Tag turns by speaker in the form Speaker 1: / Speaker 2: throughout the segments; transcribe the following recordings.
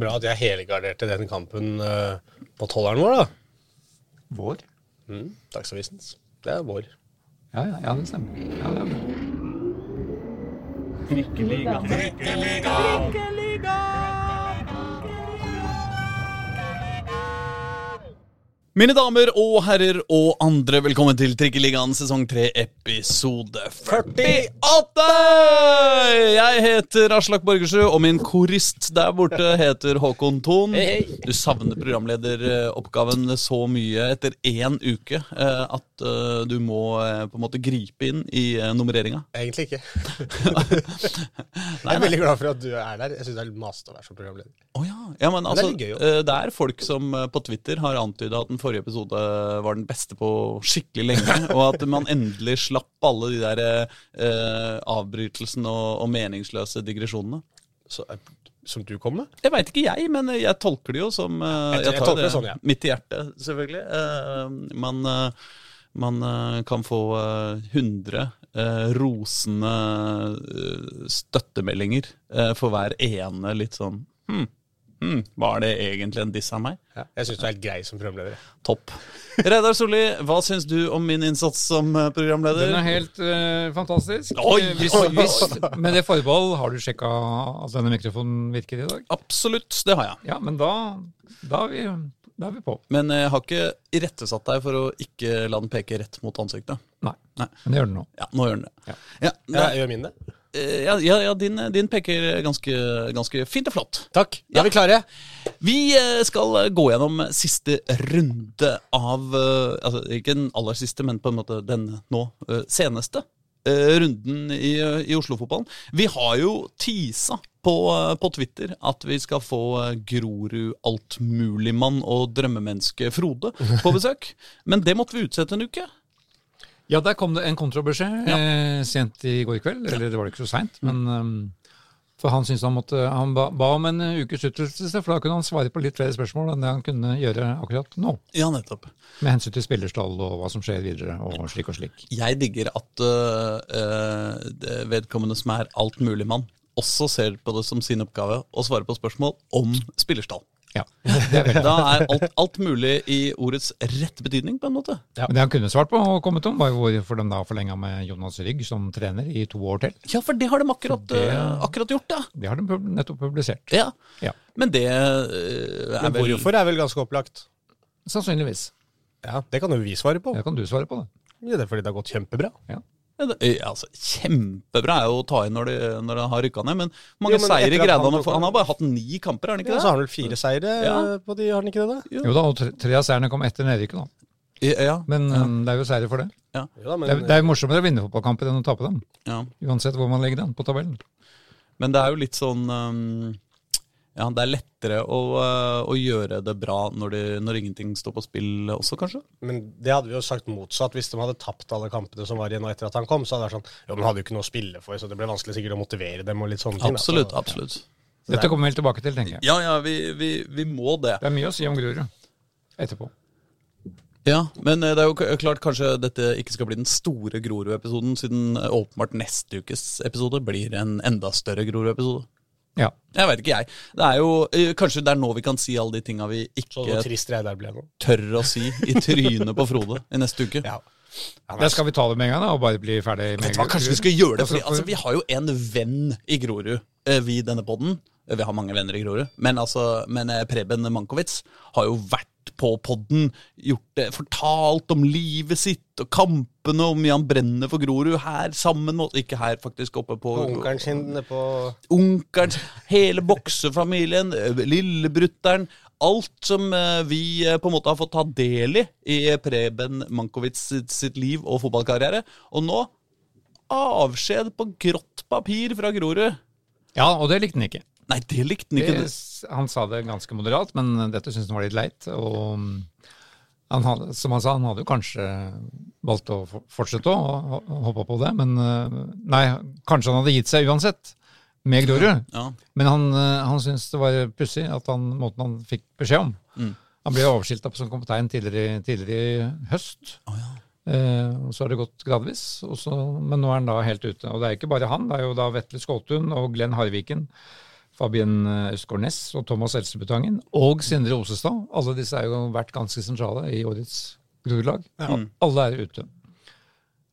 Speaker 1: Bra at jeg helgarderte den kampen eh, på tolleren vår, da.
Speaker 2: Vår?
Speaker 1: Mm, Dagsavisens. Det er vår.
Speaker 2: Ja, ja, ja det stemmer. Ja, det er bra.
Speaker 3: Mine damer og herrer og andre, velkommen til Trikkeligaen sesong 3, episode 48! Jeg heter Aslak Borgersrud, og min korist der borte heter Håkon Thon.
Speaker 1: Hei, hei.
Speaker 3: Du savner programlederoppgaven så mye etter én uke eh, at eh, du må eh, på en måte gripe inn i eh, nummereringa.
Speaker 1: Egentlig ikke. jeg er veldig glad for at du er der. Jeg syns det er litt masete å være som programleder.
Speaker 3: Å ja. ja,
Speaker 1: det
Speaker 3: men
Speaker 1: er
Speaker 3: altså,
Speaker 1: litt gøy, jo.
Speaker 3: eh, det er folk som eh, på Twitter har antyda at den forrige episode var den beste på skikkelig lenge, og at man endelig slapp alle de der eh, avbrytelsene og, og meningsløse digresjonene.
Speaker 1: Så, eh, som du kom med?
Speaker 3: Jeg veit ikke jeg, men jeg tolker det jo som eh,
Speaker 1: Jeg- jeg
Speaker 3: tar
Speaker 1: tolker det sånn, ja.
Speaker 3: Midt i hjertet, selvfølgelig. Eh, man, eh, man eh, kan få eh, 100 eh, rosende eh, støttemeldinger eh, for hver ene litt sånn hm, hm, Var det egentlig en diss av meg?
Speaker 1: Ja. Jeg syns du er grei som programleder.
Speaker 3: Topp. Reidar Solli, hva syns du om min innsats som eh,
Speaker 2: Den
Speaker 3: programleder?
Speaker 2: er helt eh, fantastisk.
Speaker 3: Oi,
Speaker 2: Eh, hvis,
Speaker 3: oi, oi.
Speaker 2: hvis, med det forbehold, har du sjekka at denne mikrofonen virker i dag?
Speaker 3: Absolutt, det har jeg.
Speaker 2: Ja, men da, da, er, vi, da er vi på.
Speaker 3: Men jeg har ikke irettesatt deg for å ikke la den peke rett mot ansiktet.
Speaker 2: Nei.
Speaker 3: Nei.
Speaker 2: Men det gjør den nå.
Speaker 3: Ja, nå gjør den det.
Speaker 2: Ja.
Speaker 3: Ja,
Speaker 1: Ja,
Speaker 3: det
Speaker 1: jeg gjør min det.
Speaker 3: Eh, Ja, ja, ja din, din peker ganske, ganske fint og flott.
Speaker 1: Takk. Da er vi klare.
Speaker 3: Vi eh, skal gå gjennom siste runde av eh, altså, Ikke den aller siste, men på en måte den nå eh, seneste eh, runden i, eh, i Oslo-fotballen. Vi har jo tisa på, eh, på Twitter at vi skal få eh, Grorud altmuligmann og drømmemenneske Frode på besøk. Men det måtte vi utsette en uke.
Speaker 2: Ja, der kom det en kontrabeskjed eh, sent i går kveld. Eller det var ikke så seint, men eh, For han syntes han måtte Han ba, ba om en eh, ukes utsettelse, for da kunne han svare på litt flere spørsmål enn det han kunne gjøre akkurat nå.
Speaker 3: Ja, nettopp.
Speaker 2: Med hensyn til spillerstall og hva som skjer videre, og slik og slik.
Speaker 3: jeg digger at øh, øh, det vedkommende som er altmuligmann, også ser på det som sin oppgave å svare på spørsmål om spillerstall.
Speaker 2: Ja, det er veldig
Speaker 3: Da er alt, alt mulig i ordets rette betydning, på en måte.
Speaker 2: Men det han kunne svart på og kommet om, var jo hvorfor de da forlenga med Jonas Rygg som trener i to år til.
Speaker 3: Ja, for det har de akkurat,
Speaker 2: For det-
Speaker 3: øh, akkurat gjort, ja.
Speaker 2: Det har de pub- nettopp publisert.
Speaker 3: ja.
Speaker 2: Ja,
Speaker 3: Men det øh, er
Speaker 1: Men
Speaker 3: vel
Speaker 1: hvorfor er vel ganske opplagt.
Speaker 2: Sannsynligvis.
Speaker 1: Ja, Det kan jo vi svare
Speaker 3: Oh.
Speaker 1: på.
Speaker 2: Det kan du svare på, det.
Speaker 1: Ja, det er fordi det har gått kjempebra.
Speaker 3: Ja, det- øh, altså, Kjempebra er jo å ta inn når, de, når han har rykka ned, men hvor mange
Speaker 1: Jo, men
Speaker 3: seire
Speaker 1: etter at han
Speaker 3: greide han å
Speaker 1: tok
Speaker 3: få?
Speaker 1: over-
Speaker 3: Han har bare hatt ni kamper, har han
Speaker 1: Ja, så
Speaker 3: ikke
Speaker 1: har
Speaker 3: det?
Speaker 1: han vel fire seire
Speaker 3: Ja.
Speaker 1: eh, på de, har han ikke det? da?
Speaker 2: Jo da, og tre, tre av seierne kom etter nedrykket, da.
Speaker 3: eh, Ja, eh,
Speaker 2: Men øhm, det er jo seire for det.
Speaker 1: Jo da,
Speaker 2: Det er, det er jo morsommere å vinne fotballkamper enn å tape dem.
Speaker 3: ja.
Speaker 2: Uansett hvor man legger den på tabellen.
Speaker 3: Men det er jo litt sånn um, Ja, det er lettere å, uh, å gjøre det bra når, det, når ingenting står på spill også, kanskje?
Speaker 1: Men det hadde vi jo sagt motsatt. Hvis de hadde tapt alle kampene som var igjen nå etter at han kom, så hadde det vært sånn Jo, men hadde jo ikke noe å spille for, så det ble vanskelig sikkert å motivere dem og litt sånne ting. da.
Speaker 3: Absolutt.
Speaker 1: Så,
Speaker 3: absolutt.
Speaker 2: Dette kommer vi helt tilbake til, tenker jeg.
Speaker 3: Ja, ja, vi, vi, vi må det.
Speaker 2: Det er mye å si om Grorud etterpå.
Speaker 3: Ja, Men eh, det er jo k- klart kanskje dette ikke skal bli den store Grorud-episoden, siden eh, åpenbart neste ukes episode blir en enda større Grorud-episode.
Speaker 2: Ja.
Speaker 3: Jeg veit ikke, jeg. Det er jo, eh, kanskje det er nå vi kan si alle de tinga vi
Speaker 1: så hvor
Speaker 3: ikke
Speaker 1: trist Reidar ble nå.
Speaker 3: tør å si i trynet på Frode i neste uke.
Speaker 1: Ja. Han er
Speaker 2: Der skal vi ta det med en gang, da, og bare bli ferdig med
Speaker 3: Vet du hva, kanskje vi skal gjøre det,
Speaker 2: Og så
Speaker 3: fordi
Speaker 2: får-
Speaker 3: altså, vi har jo en venn i Grorud, eh, vi i denne podden. Eh, Vi har mange venner i Grorud, men, altså, men eh, Preben Mankowitz har jo vært på podden, gjort det, fortalt om livet sitt og kampene, og hvor mye han brenner for Grorud her sammen med oss. Ikke her, faktisk, oppe på
Speaker 1: på Onkelen sin nede på
Speaker 3: Onkelen, hele boksefamilien, eh, lillebrutteren. Alt som eh, vi eh, på en måte har fått ta del i i Preben Mankowitz sitt, sitt liv og fotballkarriere. Og nå avskjed på grått papir fra Grorud.
Speaker 2: Ja, og det likte han ikke.
Speaker 3: Nei, det likte han ikke.
Speaker 2: Det, han sa det ganske moderat, men dette syntes han var litt leit. Og mm, han hadde, som han sa, han hadde jo kanskje valgt å for- fortsette å håpe på det, men eh, Nei, kanskje han hadde gitt seg uansett, med Grorud.
Speaker 3: Ja.
Speaker 2: Men han, eh, han syntes det var pussig at han, måten han fikk beskjed om Han ble jo overskilta som kaptein tidligere, i- tidligere i høst. Eh, og så har det gått gradvis, og så, men nå er han da helt ute. Og det er ikke bare han, det er jo da Vetle Skåtun og Glenn Harviken, Fabien Østgaard Næss og Thomas Elsebutangen og Sindre Osestad. Alle disse har jo vært ganske sentrale i årets Grorud-lag. Al- Alle er ute.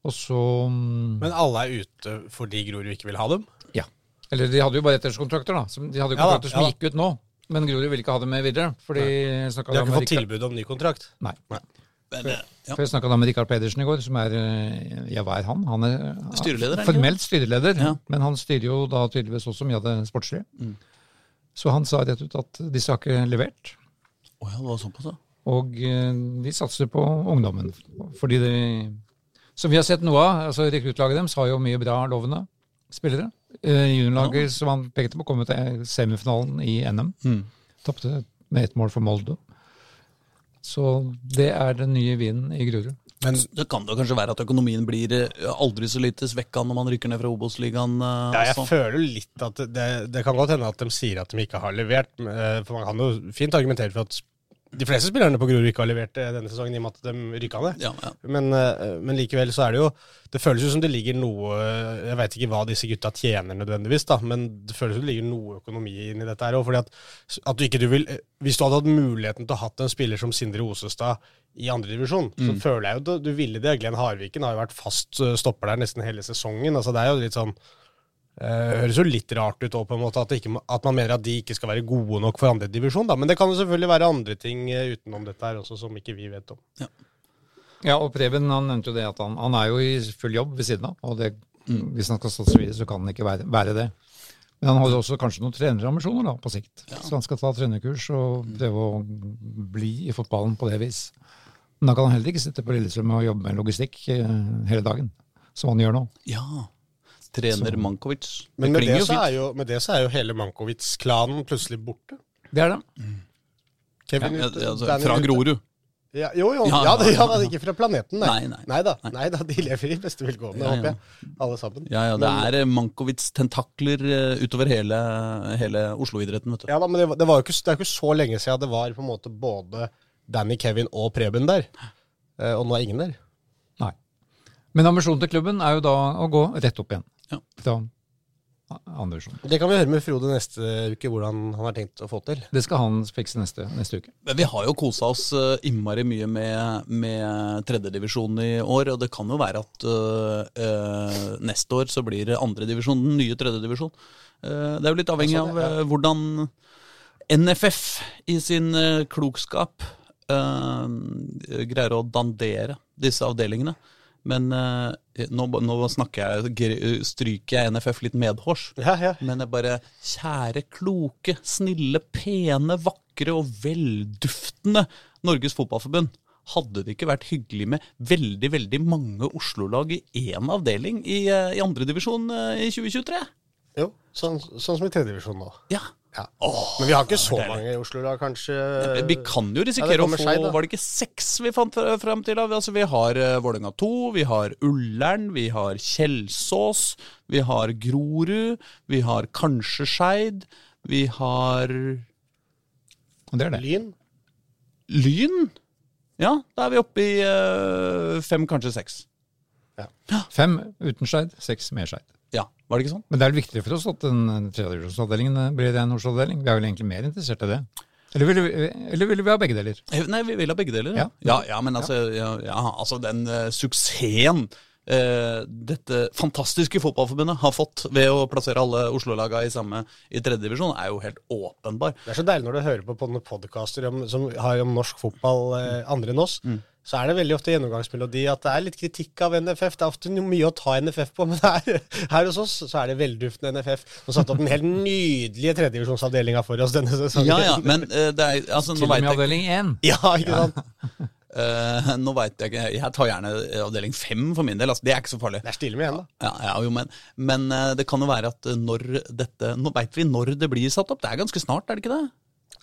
Speaker 2: Og så mm,
Speaker 1: Men alle er ute fordi Grorud ikke vil ha dem?
Speaker 2: Ja. Eller de hadde jo bare ettårskontrakter, da. Som, de hadde jo
Speaker 1: Ja da,
Speaker 2: kontrakter som
Speaker 1: ja da.
Speaker 2: gikk ut nå. Men Grorud ville ikke ha dem med videre. Fordi jeg snakket
Speaker 1: De har
Speaker 2: da
Speaker 1: ikke
Speaker 2: med
Speaker 1: fått
Speaker 2: Rikard-
Speaker 1: tilbud om ny kontrakt?
Speaker 2: Nei.
Speaker 1: Nei.
Speaker 3: Men, eh, ja.
Speaker 2: For jeg snakka med Rikard Pedersen i går, som er eh, ja, hva er han? Han er eh,
Speaker 3: Styreleder, er han ikke
Speaker 2: formelt styreleder,
Speaker 3: Ja. Mm.
Speaker 2: men han styrer jo da tydeligvis også mye av det sportslige. Så han sa rett ut at disse har ikke levert,
Speaker 3: Å ja, det var såpass, ja.
Speaker 2: og eh, de satser på ungdommen. Fordi det Som vi har sett noe av, altså rekruttlaget deres har jo mye bra lovende spillere. Eh, Juniorlaget som han pekte på, kom jo til semifinalen i NM.
Speaker 3: Mm.
Speaker 2: Tapte med ett mål for Molde. Så det er den nye vinen i Grorud.
Speaker 1: Men
Speaker 3: Det kan det jo kanskje være at økonomien blir eh, aldri så lite svekka når man rykker ned fra Obos-ligaen. eh,
Speaker 1: Ja, jeg
Speaker 3: også.
Speaker 1: føler litt at det, det kan godt hende at de sier at de ikke har levert. men, eh, For man kan jo fint argumentere for at de fleste spillerne på Grorud ikke har levert eh, denne sesongen i og med at de rykka ned.
Speaker 3: Ja, ja.
Speaker 1: Men, eh, men likevel så er det jo Det føles jo som det ligger noe Jeg veit ikke hva disse gutta tjener nødvendigvis, da, men det føles som det ligger noe økonomi inn i dette her òg. Fordi at, at du ikke du vil eh, Hvis du hadde hatt muligheten til å hatt en spiller som Sindre Osestad i andredivisjon, divisjon så føler jeg jo at du ville det. Glenn Harviken har jo vært fast eh, stopper der nesten hele sesongen. altså Det er jo litt sånn Eh, høres jo litt rart ut også, på en måte, at, det ikke, må- at man mener at de ikke skal være gode nok for andredivisjon. Men det kan jo selvfølgelig være andre ting eh, utenom dette her også, som ikke vi vet om.
Speaker 2: Ja, og Preben han nevnte jo det at han, han er jo i full jobb ved siden av. Og det, hvis han skal satse videre, så kan han ikke være, være det. Men han har jo også kanskje noen trenerambisjoner da, på sikt. Så han skal ta trenerkurs og prøve å bli i fotballen på det vis. Men da kan han heller ikke sitte på Lillestrøm og jobbe med logistikk eh, hele dagen, som han gjør nå.
Speaker 3: ja. Trener Mankovic.
Speaker 1: Men med
Speaker 3: klinger
Speaker 1: det, så
Speaker 3: fint.
Speaker 1: er jo, med det så er jo hele Mankowitz-klanen plutselig borte.
Speaker 2: Det er det.
Speaker 1: Kevin
Speaker 3: ja,
Speaker 1: ute,
Speaker 3: ja, altså,
Speaker 1: Danny
Speaker 3: Fra
Speaker 1: ute.
Speaker 3: Grorud.
Speaker 1: Ja, jo, jo.
Speaker 3: Ja,
Speaker 1: Ja, det, ja,
Speaker 3: ja, ja.
Speaker 1: da, ikke fra planeten, nei.
Speaker 3: Nei, nei.
Speaker 1: da, nei da, de lever i beste velgående,
Speaker 3: Ja, ja.
Speaker 1: håper jeg. Alle sammen.
Speaker 3: Ja, ja, det er eh, Mankovic-tentakler eh, utover hele, hele Oslo-idretten, vet du.
Speaker 1: Ja da, men det, var- det, var jo ikke, det er jo ikke så lenge siden det var på en måte både Danny, Kevin og Preben der. Eh, Og nå er ingen der.
Speaker 2: Nei. Men ambisjonen til klubben er jo da å gå rett opp igjen.
Speaker 3: Ja.
Speaker 2: Fra andre divisjon.
Speaker 1: Det kan vi høre med Frode neste uke, hvordan han har tenkt å få til.
Speaker 2: Det skal han fikse neste, neste uke.
Speaker 3: Men vi har jo kosa oss eh, innmari mye med, med tredjedivisjon i år, og det kan jo være at eh, eh, neste år så blir andredivisjon den nye tredjedivisjon. Uh, det er jo litt avhengig
Speaker 1: Ja, sånn,
Speaker 3: av eh, hvordan NFF i sin eh, klokskap eh, greier å dandere disse avdelingene. Men eh, nå, ba- nå snakker jeg, gr- stryker jeg NFF litt medhårs.
Speaker 1: Ja, ja.
Speaker 3: Men jeg bare Kjære, kloke, snille, pene, vakre og velduftende Norges Fotballforbund. Hadde det ikke vært hyggelig med veldig veldig mange Oslo-lag i én avdeling i, eh, i andredivisjon i 2023?
Speaker 1: Jo, sånn, sånn som i tredjedivisjon nå.
Speaker 3: Ja.
Speaker 1: Ja. Men vi har ikke så
Speaker 3: deilig.
Speaker 1: mange i Oslo da, kanskje.
Speaker 3: Vi kan jo
Speaker 1: Eh, Ja,
Speaker 3: risikere
Speaker 1: det
Speaker 3: å
Speaker 1: kommer
Speaker 3: få
Speaker 1: seg, da.
Speaker 3: Var det ikke seks vi fant fra- fram til? da? Altså, vi har eh, Vålerenga 2, vi har Ullern, vi har Kjelsås, vi har Grorud, vi har kanskje Skeid, vi har
Speaker 2: Og det er det.
Speaker 1: Lyn.
Speaker 3: Lyn? Ja, da er vi oppe i eh, fem, kanskje seks.
Speaker 2: Fem uten Skeid, seks med Skeid.
Speaker 3: Ja, var det ikke sånn?
Speaker 2: Men det er vel viktigere for oss at den tredjedivisjonsavdelingen eh, blir en Oslo-avdeling. Vi er vel egentlig mer interessert i det. Eller ville vi, eller ville vi ha begge deler?
Speaker 3: Eh, Nei, vi vil ha begge deler. Ja,
Speaker 2: Ja.
Speaker 3: ja, ja men altså, ja, ja, altså den eh, suksessen eh, dette fantastiske fotballforbundet har fått ved å plassere alle Oslo-laga i samme i tredje divisjon, er jo helt åpenbar.
Speaker 1: Det er så deilig når du hører på på podkaster som har om norsk fotball eh,
Speaker 3: Mm.
Speaker 1: andre enn oss. Så er det veldig ofte gjennomgangsmelodi at det er litt kritikk av NFF. Det er ofte no- mye å ta NFF på, men her, her hos oss så er det velduftende NFF. Som satte opp den helt nydelige tredjedivisjonsavdelinga for oss denne sesongen.
Speaker 3: Ja, ja, men eh, det er altså,
Speaker 2: Til
Speaker 3: nå
Speaker 2: og med
Speaker 3: vet jeg
Speaker 2: avdeling én.
Speaker 1: Ja, ikke sant?
Speaker 3: Eh, nå vet jeg ikke, jeg tar gjerne eh, avdeling fem for min del, altså, det er ikke så farlig.
Speaker 1: Det er stille med igjen, da.
Speaker 3: Ja, ja jo, men, men eh, det kan jo være at eh, når dette Nå veit vi når det blir satt opp, det er ganske snart, er det ikke det?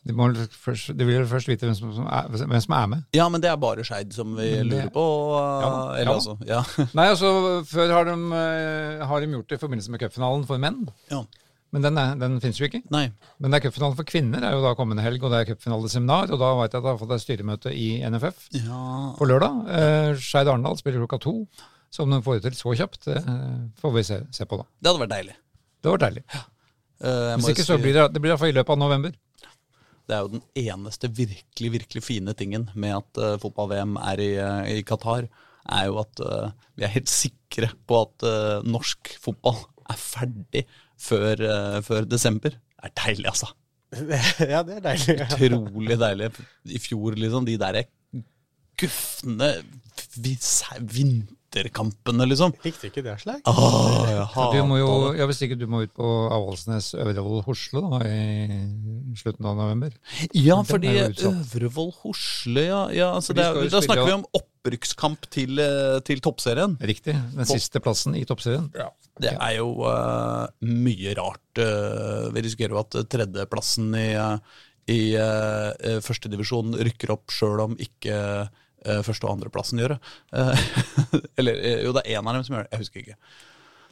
Speaker 2: De, må vel først, de vil vel først vite hvem som, som er, hvem som er med.
Speaker 3: Ja, men det er bare Skeid som vi
Speaker 2: Men det-
Speaker 3: lurer på. eh,
Speaker 2: Ja da, ja
Speaker 3: eller
Speaker 2: da.
Speaker 3: altså, ja.
Speaker 2: Nei, altså, før har de, eh, har de gjort det i forbindelse med cupfinalen for menn.
Speaker 3: ja.
Speaker 2: Men den, er, den finnes jo ikke.
Speaker 3: Nei.
Speaker 2: Men det er cupfinalen for kvinner er jo da kommende helg, og det er cupfinaleseminar. Og da veit jeg at jeg har fått et styremøte i NFF
Speaker 3: Ja.
Speaker 2: på lørdag. Eh, Skeid Arendal spiller klokka to. Så om de får det til så kjapt, det eh, får vi se, se på da.
Speaker 3: Det hadde vært deilig.
Speaker 2: Det var deilig.
Speaker 3: Eh, jeg må
Speaker 2: Hvis
Speaker 3: jo
Speaker 2: ikke,
Speaker 3: si-
Speaker 2: så blir det, det blir i hvert fall i løpet av november.
Speaker 3: Det er jo den eneste virkelig virkelig fine tingen med at eh, fotball-VM er i, eh, i Qatar, er jo at eh, vi er helt sikre på at eh, norsk fotball er ferdig før, eh, før desember. Det er deilig, altså.
Speaker 1: ja, det er deilig. Ja.
Speaker 3: Utrolig deilig. I fjor, liksom, de der gufne vi- se- vinterkampene, liksom.
Speaker 1: Likte ikke det slag?
Speaker 3: Åh, jeg
Speaker 2: Du må jo,
Speaker 3: hater det.
Speaker 2: ja, Hvis ikke du må ut på Avaldsnes, Øvrevoll, Hosle da, i slutten av november.
Speaker 3: Ja,
Speaker 2: Den
Speaker 3: fordi
Speaker 2: er jo utsatt.
Speaker 3: Øvrevoll Hosle ja, ja, altså
Speaker 2: For de
Speaker 3: det er,
Speaker 2: skal jo
Speaker 3: Da
Speaker 2: spille,
Speaker 3: snakker vi
Speaker 2: ja.
Speaker 3: om opprykkskamp til, eh, til toppserien.
Speaker 2: Riktig. Den siste plassen i toppserien.
Speaker 3: Det er jo eh, mye rart. eh, vi risikerer jo at tredjeplassen i, eh, i eh, førstedivisjon rykker opp sjøl om ikke eh, første- og andreplassen gjør det. Eh, eller eh, jo, det er én av dem som gjør det. Jeg husker ikke.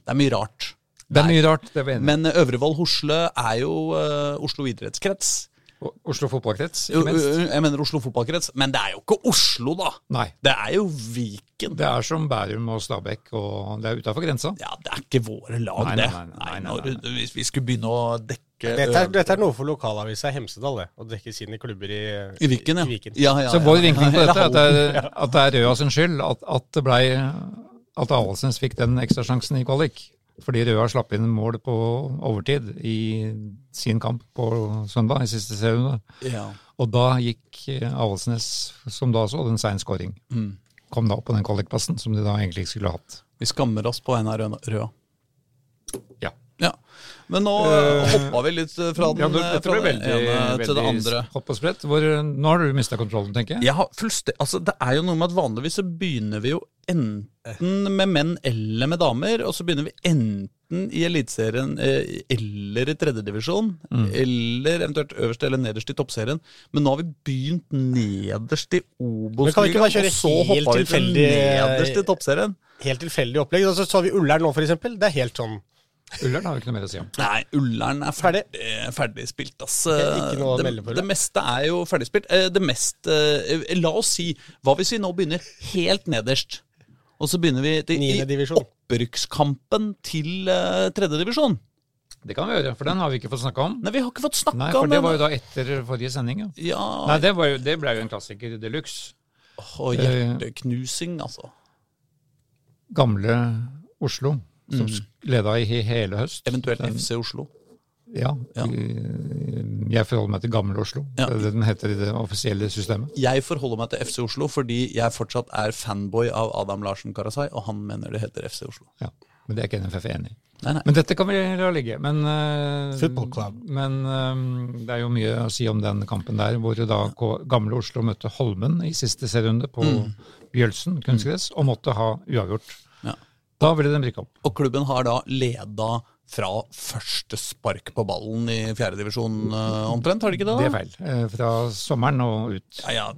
Speaker 3: Det er mye rart.
Speaker 2: Det er mye rart. det var enig.
Speaker 3: Men Øvrevoll Hosle er jo eh, Oslo idrettskrets.
Speaker 2: O- Oslo fotballkrets,
Speaker 3: Jo,
Speaker 2: ikke minst.
Speaker 3: Jeg mener Oslo fotballkrets, men det er jo ikke Oslo, da!
Speaker 2: Nei.
Speaker 3: Det er jo Viken.
Speaker 2: Det er som Bærum og Stabekk, og det er utafor grensa.
Speaker 3: Ja, det er ikke våre lag,
Speaker 2: Nei, nei,
Speaker 3: det.
Speaker 2: nei, nei, nei,
Speaker 3: når-
Speaker 2: nei,
Speaker 3: Hvis vi skulle begynne å dekke
Speaker 1: Dette er, dette er noe for lokalavisa i Hemsedal, det. Å dekke sine klubber i,
Speaker 3: I Viken, ja.
Speaker 1: I Viken.
Speaker 3: ja, ja
Speaker 2: Så vår vinkling på
Speaker 3: Eller
Speaker 2: dette er at det
Speaker 3: Halden.
Speaker 2: er, at det er Røa sin skyld at, at det blei at Avaldsnes fikk den ekstrasjansen i kvalik. Fordi Røa slapp inn mål på overtid i sin kamp på søndag, i siste serierunde.
Speaker 3: ja.
Speaker 2: Og da gikk eh, Avaldsnes, som da så, den sein scoring.
Speaker 3: Mm.
Speaker 2: Kom da opp på den kvalikplassen som de da egentlig ikke skulle hatt.
Speaker 3: Vi skammer oss på vegne av Rø- Røa.
Speaker 2: Ja.
Speaker 3: Ja. Men nå
Speaker 2: Eh,
Speaker 3: hoppa vi litt fra den,
Speaker 2: Ja, det, dette
Speaker 3: fra
Speaker 2: ble
Speaker 3: det
Speaker 2: veldig,
Speaker 3: ene til det
Speaker 2: veldig
Speaker 3: andre.
Speaker 2: hopp og sprett. Hvor, eh, nå har du mista kontrollen, tenker jeg.
Speaker 3: Jeg har fullste- altså, det er jo noe med at vanligvis så begynner vi jo enten med menn eller med damer, og så begynner vi enten i Eliteserien eh, eller i tredjedivisjon,
Speaker 1: Mm.
Speaker 3: eller eventuelt øverst eller nederst i toppserien. Men nå har vi begynt nederst i
Speaker 1: Men kan vi ikke
Speaker 3: Obos-ligaen,
Speaker 1: bare kjøre
Speaker 3: og så
Speaker 1: helt
Speaker 3: hoppa vi til
Speaker 1: tilfeldig- eh,
Speaker 3: nederst i toppserien.
Speaker 1: Helt tilfeldig opplegg. Altså, så har vi Ullern nå, for eksempel. Det er helt sånn
Speaker 2: Ullern har jo ikke noe mer å si om.
Speaker 3: Nei, Ullern er ferdig, eh, ferdigspilt, ass. Eh,
Speaker 1: ikke noe å
Speaker 3: det,
Speaker 1: melde på, eller?
Speaker 3: det meste er jo ferdigspilt. Eh, Det mest eh, La oss si Hva hvis vi nå begynner helt nederst? Og så begynner vi til,
Speaker 1: Niende
Speaker 3: i
Speaker 1: divisjon.
Speaker 3: opprykkskampen til uh, tredjedivisjon.
Speaker 2: Det kan vi gjøre, for den har vi ikke fått snakka om.
Speaker 3: Nei, vi har ikke fått
Speaker 2: Nei,
Speaker 3: snakka
Speaker 2: for
Speaker 3: om
Speaker 2: det
Speaker 3: den.
Speaker 2: var jo da etter forrige sending, ja.
Speaker 3: Ja,
Speaker 2: Nei, det, var jo, det ble jo en klassiker de luxe.
Speaker 3: og hjerteknusing, altså.
Speaker 2: Gamle Oslo,
Speaker 3: Mm.
Speaker 2: som sk- leda i he- hele høst.
Speaker 3: Eventuelt FC Oslo.
Speaker 2: Ja.
Speaker 3: Ja.
Speaker 2: i- Jeg forholder meg til Gamle Oslo.
Speaker 3: Ja.
Speaker 2: Det er det den heter i det offisielle systemet.
Speaker 3: Jeg forholder meg til FC Oslo fordi jeg fortsatt er fanboy av Adam Larsen Karasai, og han mener det heter FC Oslo.
Speaker 2: Ja. Men det er ikke NFF enig i.
Speaker 3: Nei, nei.
Speaker 2: Men dette kan vi la ligge. Men, eh,
Speaker 1: Football club.
Speaker 2: men eh, det er jo mye å si om den kampen der, hvor da K- Gamle Oslo møtte Holmen i siste serierunde på Bjølsen kunstgress, og måtte ha uavgjort.
Speaker 3: Mm. Ja.
Speaker 2: Da ville den rykke opp.
Speaker 3: Og klubben har da leda fra første spark på ballen i fjerdedivisjon omtrent, har de ikke det? da?
Speaker 2: Det er feil. Eh, Fra sommeren og ut.
Speaker 3: Ja, ja,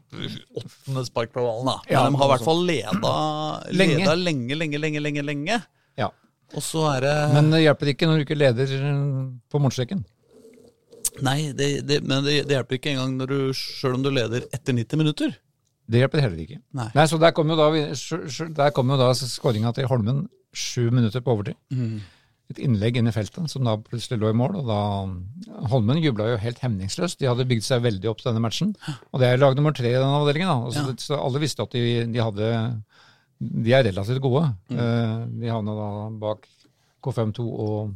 Speaker 3: åttende spark på ballen, da. Men
Speaker 2: Ja,
Speaker 3: de har i
Speaker 2: noe
Speaker 3: hvert fall leda
Speaker 2: Lenge.
Speaker 3: lenge. lenge, lenge, lenge, lenge. lenge.
Speaker 2: Ja.
Speaker 3: Og så er det
Speaker 2: Men det hjelper ikke når du ikke leder eh, på målstreken.
Speaker 3: Nei, det, det, men det, det hjelper ikke engang når du, sjøl om du leder etter 90 minutter.
Speaker 2: Det hjelper heller ikke.
Speaker 3: Nei.
Speaker 2: så der kom jo da, vi- sj- sj- der kom jo da skåringa til Holmen sju minutter på overtid.
Speaker 3: Mm.
Speaker 2: Et innlegg inn i feltet som da plutselig lå i mål. og da Holmen jubla jo helt hemningsløst. De hadde bygd seg veldig opp til denne matchen. Og det er lag nummer tre i den avdelingen. da. Og Så,
Speaker 3: Ja.
Speaker 2: så alle visste at de, de hadde De er relativt gode.
Speaker 3: Mm.
Speaker 2: Eh, De havna da bak K52 og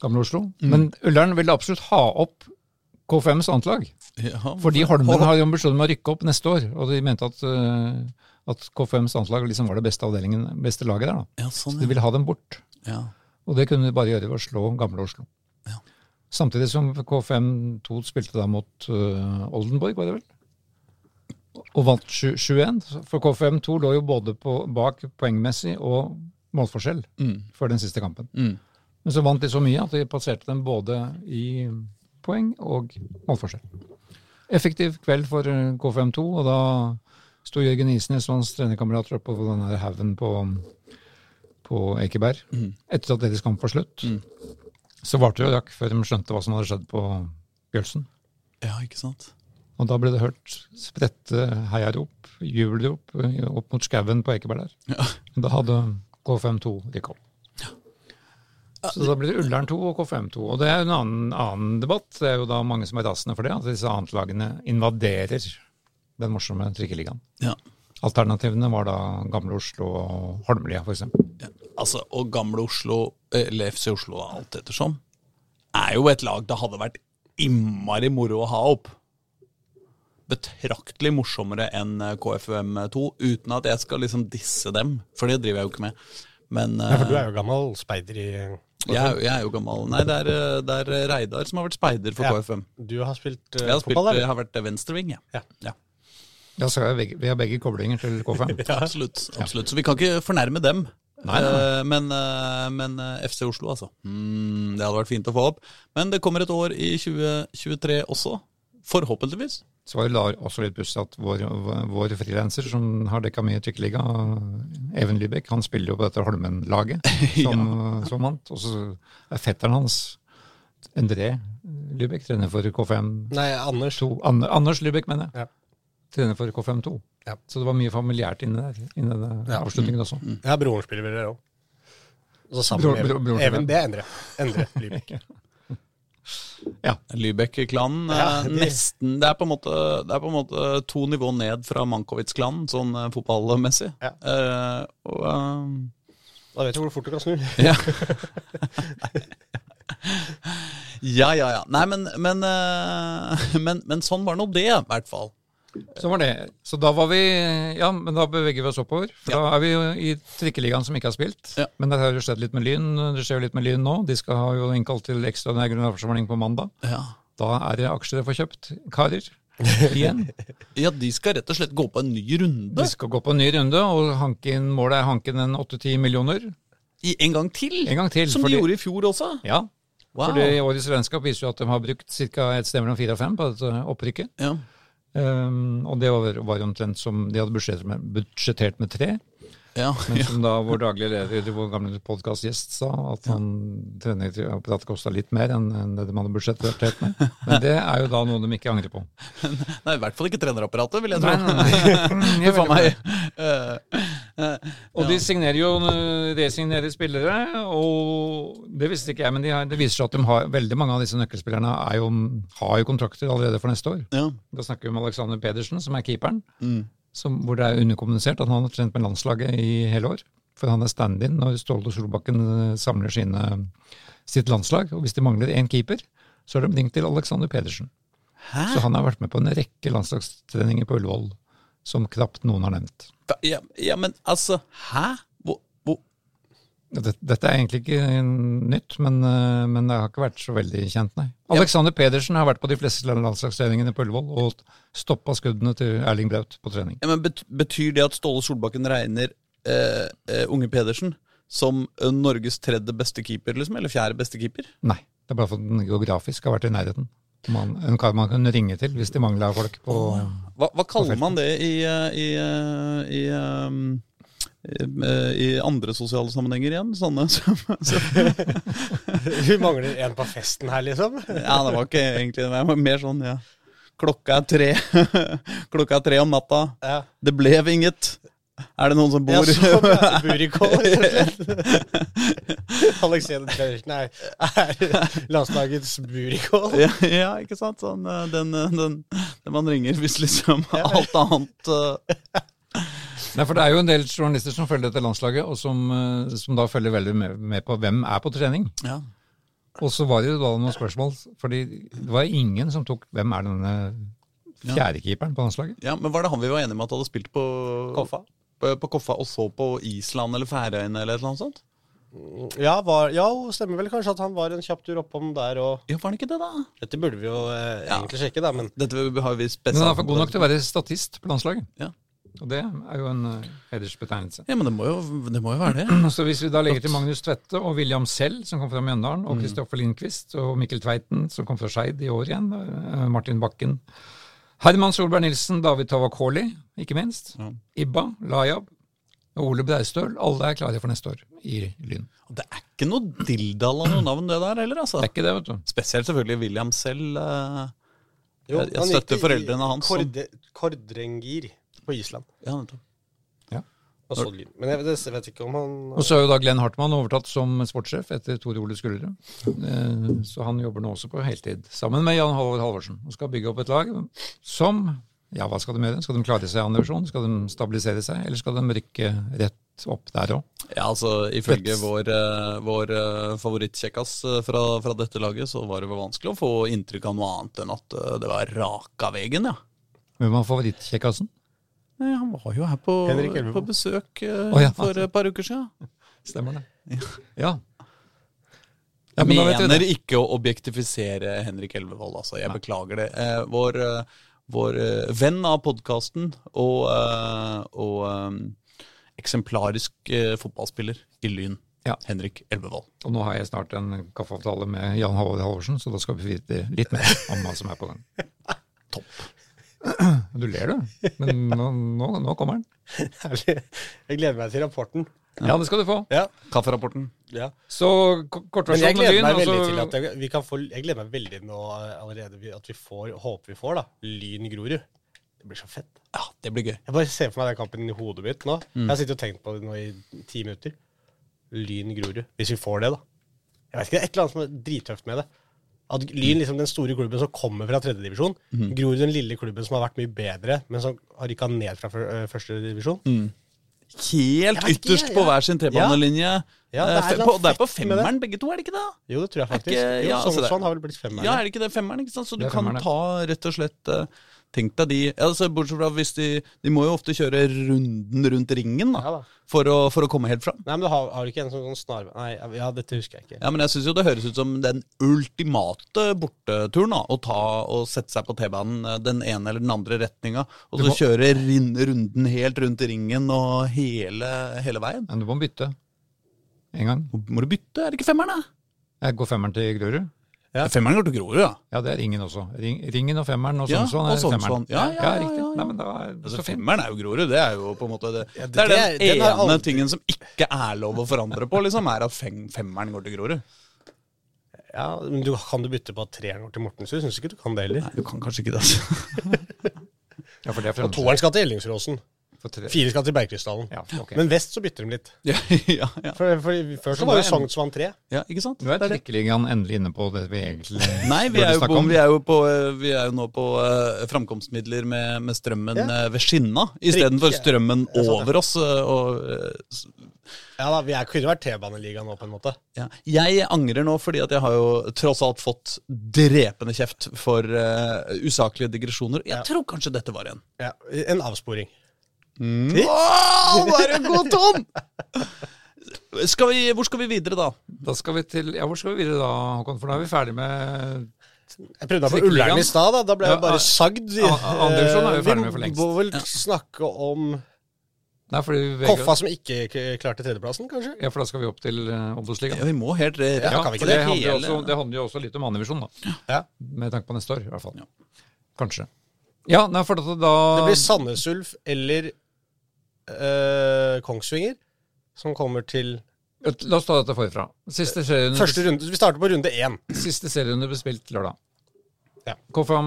Speaker 2: Gamle Oslo.
Speaker 3: Mm.
Speaker 2: Men Ullern ville absolutt ha opp K5s annet lag.
Speaker 3: Ja,
Speaker 2: Fordi Holmen har jo ambisjoner med å rykke opp neste år, og de mente at, eh, at K5s landslag liksom var det beste avdelingen, beste laget der. da.
Speaker 3: ja,
Speaker 2: Så
Speaker 3: sånn,
Speaker 2: de ville ha dem bort.
Speaker 3: ja. ja.
Speaker 2: Og det kunne de bare gjøre ved å slå gamle Oslo.
Speaker 3: Ja.
Speaker 2: Samtidig som K5-2 spilte da mot eh, Oldenborg, var det vel? Og vant 7-1. For K5-2 lå jo både på, bak poengmessig og målforskjell før den siste kampen.
Speaker 3: Mm.
Speaker 2: Men så vant de så mye at de passerte dem både i poeng og målforskjell. Effektiv kveld for eh, K5-2, og da sto Jørgen Isnes og hans trenerkamerater oppe på denne haugen på, på Ekeberg.
Speaker 3: Mm.
Speaker 2: Etter at deres kamp var slutt, så varte det og rakk før de skjønte hva som hadde skjedd på Bjølsen.
Speaker 3: ja, ikke sant?
Speaker 2: Og da ble det hørt spredte heiarop, jubelrop, eh, opp mot skauen på Ekeberg der.
Speaker 3: Ja.
Speaker 2: Da hadde K5-2 rykka opp. Så da blir det Ullern 2 og KFM 2. Og det er jo en annen, annen debatt. Det er jo da mange som er rasende for det, at disse annetlagene invaderer den morsomme trikkeligaen.
Speaker 3: Ja.
Speaker 2: Alternativene var da Gamle Oslo og Holmlia, f.eks.
Speaker 3: Altså, og gamle Oslo, eh, eller FC Oslo da, alt ettersom, er jo et lag det hadde vært innmari moro å ha opp. Betraktelig morsommere enn eh, KFUM2, uten at jeg skal liksom disse dem, for det driver jeg jo ikke med. Men
Speaker 1: Ja, for du
Speaker 3: eh,
Speaker 1: er jo gammel speider i
Speaker 3: jeg, er jo- jeg er jo gammel. Nei, det er, eh, det er Reidar som har vært speider for
Speaker 1: Ja.
Speaker 3: KFUM.
Speaker 1: Du har spilt
Speaker 3: Jeg
Speaker 1: uh,
Speaker 3: har, spilt, eh,
Speaker 1: fotball,
Speaker 3: jeg
Speaker 1: eller?
Speaker 3: har vært venstreving, jeg.
Speaker 1: Ja.
Speaker 3: Ja.
Speaker 2: Ja, så er vi begge- vi har begge koblinger til KFM.
Speaker 3: Absolutt. absolutt. Så vi kan ikke fornærme dem.
Speaker 2: Nei, nei, nei.
Speaker 3: Eh, Men, eh, men eh, FC Oslo, altså. Mm, det hadde vært fint å få opp. Men det kommer et år i 2023 også. Forhåpentligvis.
Speaker 2: Så var det da også litt pussig at vår, vår frilanser, som har dekka mye i Tykkeliga, Even Lybekk, han spiller jo på dette Holmen-laget som, som vant. Og så er fetteren hans, Endre Lybekk, trener for KFM
Speaker 1: Nei, Anders.
Speaker 2: 2. An Anders Lybekk, mener jeg.
Speaker 1: Ja.
Speaker 2: Trener for KFM2.
Speaker 1: Ja.
Speaker 2: Så det var mye familiært inni der, inni den
Speaker 1: Ja.
Speaker 2: avslutningen også.
Speaker 1: Ja, broren spiller vel der òg. Og så sammen
Speaker 2: Bror-
Speaker 1: med Even.
Speaker 2: bror- broren
Speaker 1: Even,
Speaker 2: spiller.
Speaker 1: det er Endre. Endre Lybekk.
Speaker 3: Lybekk-klanen. eh,
Speaker 1: Ja, de-
Speaker 3: Nesten. Det er, på en måte, det er på en måte to nivå ned fra Mankowitz-klanen, sånn eh, fotballmessig.
Speaker 1: Ja.
Speaker 3: Eh, og eh,
Speaker 1: Da vet du hvor fort du kan snu.
Speaker 3: Ja. ja, ja, ja. Nei, men, men, eh, men, men sånn var nå det, i hvert fall.
Speaker 2: Så Sånn var det. Så da var vi Ja, men da beveger vi oss oppover. For da er vi jo i trikkeligaen som ikke har spilt.
Speaker 3: Ja.
Speaker 2: Men det har jo skjedd litt med Lyn. Det skjer jo litt med Lyn nå. De skal ha jo innkalt til ekstraordinær generalforsamling på mandag.
Speaker 3: Ja.
Speaker 2: Da er det aksjer å få kjøpt, karer. Igjen.
Speaker 3: ja, de skal rett og slett gå på en ny
Speaker 2: De
Speaker 3: runde.
Speaker 2: skal gå på en ny runde, og hanke inn, målet er hanke inn en 8-10 millioner.
Speaker 3: I, en gang til.
Speaker 2: En gang til.
Speaker 3: Som
Speaker 2: fordi-
Speaker 3: de gjorde i fjor også.
Speaker 2: Ja.
Speaker 3: Wow.
Speaker 2: Fordi årets regnskap viser jo at de har brukt ca. et sted mellom fire og fem på dette opprykket.
Speaker 3: Ja.
Speaker 2: Um, og det var, var omtrent som de hadde budsjettert med, budsjettert med tre.
Speaker 3: Ja.
Speaker 2: Men som da vår daglige leder, vår gamle podkastgjest, sa, at han treningsapparatet kosta litt mer enn enn det man hadde budsjettert med. Men det er jo da noe de ikke angrer på.
Speaker 3: Nei, i hvert fall ikke trenerapparatet, vil jeg tro.
Speaker 2: Nei, nei, nei. Jeg
Speaker 3: Huff a
Speaker 2: vet
Speaker 3: meg. Eh,
Speaker 2: ikke. Og de signerer jo, eh, resignerer spillere, og det visste ikke jeg, men de har, det viser seg at de har, veldig mange av disse nøkkelspillerne er jo, har jo kontrakter allerede for neste år.
Speaker 3: Ja.
Speaker 2: Da snakker vi om Alexander Pedersen, som er keeperen.
Speaker 3: Mm.
Speaker 2: Som, hvor det er underkommunisert at han har trent med landslaget i hele år. For han er stand-in når Ståle Solbakken eh, samler sine, sitt landslag. Og hvis de mangler én keeper, så er de linkt til Alexander Pedersen.
Speaker 3: Hæ?
Speaker 2: Så han har vært med på en rekke landslagstreninger på Ullevål som knapt noen har nevnt.
Speaker 3: Hva- Ja, ja, men altså, hæ? Hvor, hvor?
Speaker 2: Dette, dette er egentlig ikke nytt, men, eh, men det har ikke vært så veldig kjent, nei. Alexander Pedersen har vært på de fleste landslagstreningene på Ullevål og stoppa skuddene til Erling Braut på trening.
Speaker 3: Ja, men bet betyr det at Ståle Solbakken regner eh, eh, Unge Pedersen som eh, Norges tredje beste keeper, liksom? Eller fjerde beste keeper?
Speaker 2: Nei, det er bare for at den geografisk har vært i nærheten. Man, en kar man kan ringe til hvis de mangler folk på
Speaker 3: Hva, hva kaller man det i, eh, i, eh, i, ehm, eh, i andre sosiale sammenhenger igjen? Sånne som som-
Speaker 1: Vi mangler en på festen her, liksom.
Speaker 3: Ja, det var ikke egentlig det. Det var mer sånn, ja. Klokka er tre. Klokka er tre om natta.
Speaker 1: Ja.
Speaker 3: Det ble vinget. Er det noen som bor
Speaker 1: Ja, sånn, ja. Burikål, rett og slett. Alexander Pedersen er, er landslagets burikål.
Speaker 3: ja, ja, ikke sant? Sånn, eh, den, eh, den, den man ringer hvis liksom alt annet eh,
Speaker 2: Nei, for det er jo en del journalister som følger dette landslaget, og som, eh, som da følger veldig med, med på hvem er på trening.
Speaker 3: Ja.
Speaker 2: Og så var det jo da noen spørsmål, fordi det var ingen som tok hvem er denne fjerdekeeperen på landslaget.
Speaker 3: ja, men var det han vi var enige med at hadde spilt på
Speaker 1: Koffa.
Speaker 3: På, på Koffa og så på Island eller Færøyene eller et eller annet sånt?
Speaker 1: Ja, var, ja, stemmer vel kanskje at han var en kjapp tur oppom der og
Speaker 3: Ja, var det ikke det, da?
Speaker 1: Dette burde vi jo eh,
Speaker 3: Ja.
Speaker 1: egentlig sjekke, da, men
Speaker 3: Dette har vi
Speaker 2: Men han
Speaker 3: spesielt
Speaker 2: er for god nok til å være statist på landslaget.
Speaker 3: Ja.
Speaker 2: Og det er jo en eh, hedersbetegnelse.
Speaker 3: Ja, men det må jo, det må jo være det.
Speaker 2: Så hvis vi da legger til Magnus Tvedte og William Sell, som kom fra Mjøndalen, og Kristoffer Lindqvist og Mikkel Tveiten, som kom fra Skeid i år igjen, eh, Martin Bakken, Herman Solberg Nilsen, David Tavakoli, ikke minst,
Speaker 3: Ja.
Speaker 2: Ibba, Lajab og Ole Breistøl, alle er klare for neste år i Lyn.
Speaker 3: Og Det er ikke noe dilldall av noe navn, det der heller, altså.
Speaker 2: Det er ikke det, vet du.
Speaker 3: Spesielt selvfølgelig William selv. eh,
Speaker 1: jo,
Speaker 3: Jeg- jeg
Speaker 1: han gikk
Speaker 3: støtter
Speaker 1: i-
Speaker 3: foreldrene hans som-
Speaker 1: Korde, Kordrengir på Island.
Speaker 3: Ja, nettopp.
Speaker 2: Ja.
Speaker 1: Og så lyd. Men jeg vet, jeg vet ikke om han
Speaker 2: Og så er jo da Glenn Hartmann overtatt som sportssjef etter Tore Ole Skullerud. Eh, Så han jobber nå også på heltid, sammen med Jan Halvor Halvorsen, og skal bygge opp et lag som Ja, hva skal de gjøre? Skal de klare seg i annen divisjon? Skal de stabilisere seg, eller skal de rykke rett opp der òg?
Speaker 3: Ja, altså Ifølge
Speaker 2: Fett.
Speaker 3: vår, eh, vår eh, favorittkjekkas eh, fra, fra dette laget, så var det vel vanskelig å få inntrykk av noe annet enn at eh, det var raka veien, ja.
Speaker 2: Hvem var favorittkjekkasen?
Speaker 3: Nei, Han var jo her på,
Speaker 1: Henrik Elvemo.
Speaker 3: på besøk eh,
Speaker 2: Å, ja.
Speaker 3: for et par uker siden.
Speaker 2: Stemmer det. Ja. Ja,
Speaker 3: Jeg
Speaker 2: men da vet vi
Speaker 3: mener
Speaker 2: det.
Speaker 3: ikke å objektifisere Henrik Elvevold, altså. Jeg
Speaker 2: Nei.
Speaker 3: beklager det. Eh, vår eh, vår eh, venn av podkasten og, eh, og eh, eksemplarisk eh, fotballspiller i Lyn,
Speaker 2: Ja.
Speaker 3: Henrik Elvevold.
Speaker 2: Og nå har jeg snart en kaffeavtale med Jan Halvor Halvorsen, så da skal vi vite litt mer om hva som er på gang.
Speaker 3: Topp.
Speaker 2: Du ler, du. Men nå, nå, nå kommer han.
Speaker 1: Herlig. Jeg gleder meg til rapporten.
Speaker 2: Ja, det skal du få.
Speaker 1: Ja.
Speaker 3: Kafferapporten.
Speaker 1: ja.
Speaker 2: Så ko-
Speaker 1: Men jeg
Speaker 2: kortversjonen av
Speaker 1: gleder
Speaker 2: byen
Speaker 1: meg
Speaker 2: altså,
Speaker 1: veldig til at jeg, vi kan få Jeg gleder meg veldig nå eh, allerede vi- at vi får, håper vi får, da, Lyn Grorud. Det blir så fett.
Speaker 3: Ja, det blir gøy.
Speaker 1: Jeg bare ser for meg den kampen i hodet mitt nå. Jeg har sittet og tenkt på det nå i ti minutter. Lyn Grorud. Hvis vi får det, da. Jeg vet ikke, Det er et eller annet som er drittøft med det. At Lyn, liksom den store klubben som kommer fra tredjedivisjon, divisjon Grorud, den lille klubben som har vært mye bedre, men som har rykka ned fra fyr- øh, første divisjon.
Speaker 3: Helt
Speaker 1: vet ikke,
Speaker 3: ytterst på
Speaker 1: ja.
Speaker 3: hver sin trebanelinje.
Speaker 1: Ja, det er
Speaker 3: Eh,
Speaker 1: et eller
Speaker 3: fe-
Speaker 1: annet
Speaker 3: på- det er på
Speaker 1: fett med det.
Speaker 3: femmeren, begge to, er det ikke det?
Speaker 1: Jo, det tror jeg faktisk.
Speaker 3: ikke-
Speaker 1: jo,
Speaker 3: ja, altså det-
Speaker 1: Sognsvann har vel blitt femmeren.
Speaker 3: Ja, er det ikke det femmeren? ikke sant? Så du
Speaker 2: Det er
Speaker 3: kan
Speaker 2: femmeren, ja.
Speaker 3: ta rett og slett eh, Tenk deg de altså Bortsett fra hvis de De må jo ofte kjøre runden rundt ringen da,
Speaker 1: Ja da.
Speaker 3: For, å, for å komme helt fram.
Speaker 1: Nei, men du har, har du ikke en sånn, sånn snarvei Nei, ja, dette husker jeg ikke.
Speaker 3: Ja, men jeg syns jo det høres ut som den ultimate borteturen. da, Å ta og sette seg på T-banen eh, den ene eller den andre retninga, og
Speaker 2: Du
Speaker 3: så
Speaker 2: må-
Speaker 3: kjøre rin- runden helt rundt ringen og hele, hele veien.
Speaker 2: Men du må bytte. En gang.
Speaker 3: Må du bytte? Er det ikke femmeren, da?
Speaker 2: Jeg går femmeren til Grorud.
Speaker 1: Ja.
Speaker 3: Femmeren går til Grorud, ja.
Speaker 2: Ja, det er ringen også. Ring, ringen og femmeren og
Speaker 3: Ja,
Speaker 2: Sognsvann
Speaker 3: og
Speaker 2: er
Speaker 3: Sognsvann.
Speaker 2: femmeren.
Speaker 3: Ja, ja, ja,
Speaker 2: riktig.
Speaker 3: ja, ja.
Speaker 2: Nei, men da er det
Speaker 3: Altså,
Speaker 2: så fint.
Speaker 3: femmeren er jo Grorud. Det er jo på en måte det,
Speaker 1: Ja, det-
Speaker 3: det er den
Speaker 1: det- den har
Speaker 3: ene
Speaker 1: aldri-
Speaker 3: tingen som ikke er lov å forandre på, liksom, er at fem, femmeren går til Grorud.
Speaker 1: Ja, men du, Kan du bytte på at treeren går til Mortensrud? Syns ikke du kan det heller.
Speaker 3: Nei, du kan kanskje ikke det. altså.
Speaker 2: Ja, for det er
Speaker 1: Og
Speaker 2: fremst.
Speaker 1: toeren skal til Ellingsråsen.
Speaker 2: For tre.
Speaker 1: Fire skal til Bergkrystallen.
Speaker 2: Ja, ok.
Speaker 1: Men vest så bytter de litt.
Speaker 3: Ja, ja, ja.
Speaker 1: For, for, før så var jo Sognsvann 3.
Speaker 3: ja, ikke sant?
Speaker 2: Nå er trikkeligaen endelig inne på det vi egentlig
Speaker 3: Nei, vi
Speaker 2: burde
Speaker 3: er, jo
Speaker 2: snakke
Speaker 3: på,
Speaker 2: om.
Speaker 3: vi, er jo på, eh, vi er jo nå på eh, framkomstmidler med, med strømmen
Speaker 1: Ja.
Speaker 3: eh, ved skinna,
Speaker 1: Trikk,
Speaker 3: istedenfor
Speaker 1: ja.
Speaker 3: strømmen
Speaker 1: Ja, sant, ja.
Speaker 3: over oss. eh, Og, eh, s-
Speaker 1: Ja da, vi er, kunne vært T-baneliga nå, på en måte.
Speaker 3: ja. Jeg angrer nå, fordi at jeg har jo tross alt fått drepende kjeft for eh, usaklige digresjoner. Jeg
Speaker 1: Ja.
Speaker 3: tror kanskje dette var en.
Speaker 1: Ja, en avsporing.
Speaker 3: Mm. Åh, nå er du god, Tom! Skal vi, hvor skal vi videre, da?
Speaker 2: Da skal vi til Ja, hvor skal vi videre da, Håkon? For da er vi ferdig med
Speaker 1: Jeg prøvde meg på
Speaker 2: Trikkeligaen.
Speaker 1: Ullern i stad, da. Da ble jeg
Speaker 2: Ja,
Speaker 1: bare
Speaker 2: a-
Speaker 1: sagd.
Speaker 2: a- andre divisjon er vi
Speaker 1: Eh,
Speaker 2: ferdig med for lengst.
Speaker 1: Vi må vel snakke om
Speaker 2: Nei, fordi vi beveger
Speaker 1: Koffa som ikke k- klarte tredjeplassen, kanskje?
Speaker 2: Ja, for da skal vi opp til eh,
Speaker 3: Ja,
Speaker 2: Obos-ligaen.
Speaker 3: vi må helt eh, rett.
Speaker 1: Ja, kan vi ikke
Speaker 2: for det,
Speaker 1: det?
Speaker 2: handler jo
Speaker 3: Hele-
Speaker 2: også, det handler jo også litt om andredivisjon, da.
Speaker 1: Ja.
Speaker 2: Med tanke på neste år, i hvert fall.
Speaker 3: Ja.
Speaker 2: Kanskje. Ja, nei, for da, da
Speaker 1: Det blir Sandnes Ulf eller eh, Kongsvinger som kommer til
Speaker 2: La oss ta dette forfra. Siste serien
Speaker 1: første runde. Vi starter på runde én.
Speaker 2: Siste serierunde ble spilt lørdag.
Speaker 1: Ja.
Speaker 2: Koffa,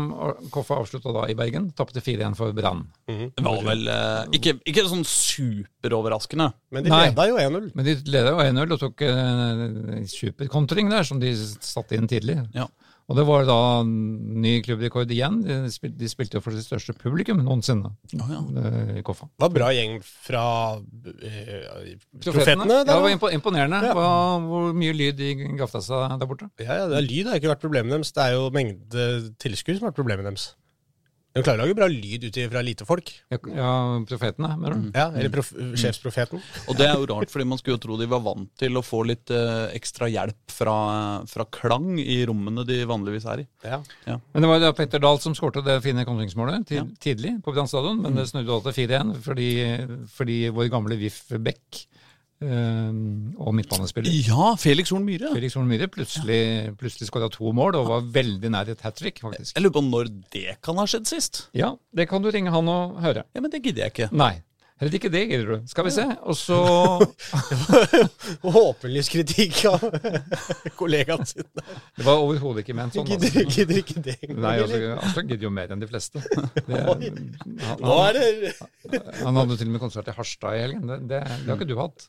Speaker 2: Koffa avslutta da i Bergen. Tapte 4-1 for Brann.
Speaker 3: Det var vel eh, ikke, ikke sånn superoverraskende.
Speaker 1: Men de
Speaker 2: Nei.
Speaker 1: leda jo 1-0.
Speaker 2: Men de leda jo 1-0 og tok eh, superkontring der, som de satte inn tidlig.
Speaker 3: Ja.
Speaker 2: Og det var da ny klubbrekord igjen. De spil- de spilte jo for sitt største publikum noensinne eh, i Koffa.
Speaker 1: Var bra gjeng fra eh,
Speaker 2: Ja,
Speaker 1: Profetene.
Speaker 2: det
Speaker 1: Der,
Speaker 2: var
Speaker 1: da.
Speaker 2: impo- imponerende
Speaker 1: Ja.
Speaker 2: hva, hvor mye lyd de gafta seg der borte.
Speaker 1: ja, ja, det er lyd har ikke vært problemet deres. Det er jo mengde tilskudd som har vært problemet deres. De klarer å lage bra lyd ut fra lite folk.
Speaker 2: Ja, ja profetene, mener du?
Speaker 1: Ja, eller prof
Speaker 2: Mm.
Speaker 1: sjefsprofeten.
Speaker 3: Og det er jo rart, fordi man skulle jo tro de var vant til å få litt eh, ekstra hjelp fra, fra klang i rommene de vanligvis er i.
Speaker 1: Ja.
Speaker 2: Men det var jo da Petter Dahl som skårte det fine kontringsmålet ti-
Speaker 3: Ja.
Speaker 2: tidlig på Brann stadion, men det snudde da til 4-1 fordi, fordi vår gamle VIF Beck eh, og midtbanespiller
Speaker 3: Ja, Felix Horn Myhre.
Speaker 2: Felix Horn Myhre plutselig, plutselig skåra to mål og var veldig nær et hat trick, faktisk.
Speaker 3: Jeg lurer på når det kan ha skjedd sist.
Speaker 2: Ja, det kan du ringe han og høre.
Speaker 3: Ja, Men det gidder jeg ikke.
Speaker 2: Nei. Heller ikke det gidder du. Skal vi se. Og så
Speaker 1: Håpløs kritikk av kollegaen sin.
Speaker 2: Det var overhodet ikke ment sånn.
Speaker 1: Gidder,
Speaker 2: Altså.
Speaker 1: gidder ikke det engang.
Speaker 2: Nei, altså,
Speaker 1: eller?
Speaker 2: Aslak gidder jo mer enn de fleste. Det,
Speaker 1: Oi.
Speaker 2: han,
Speaker 1: Nå
Speaker 2: han,
Speaker 1: er det
Speaker 2: han hadde jo til og med konsert i Harstad i helgen. Det, det, det har ikke du hatt.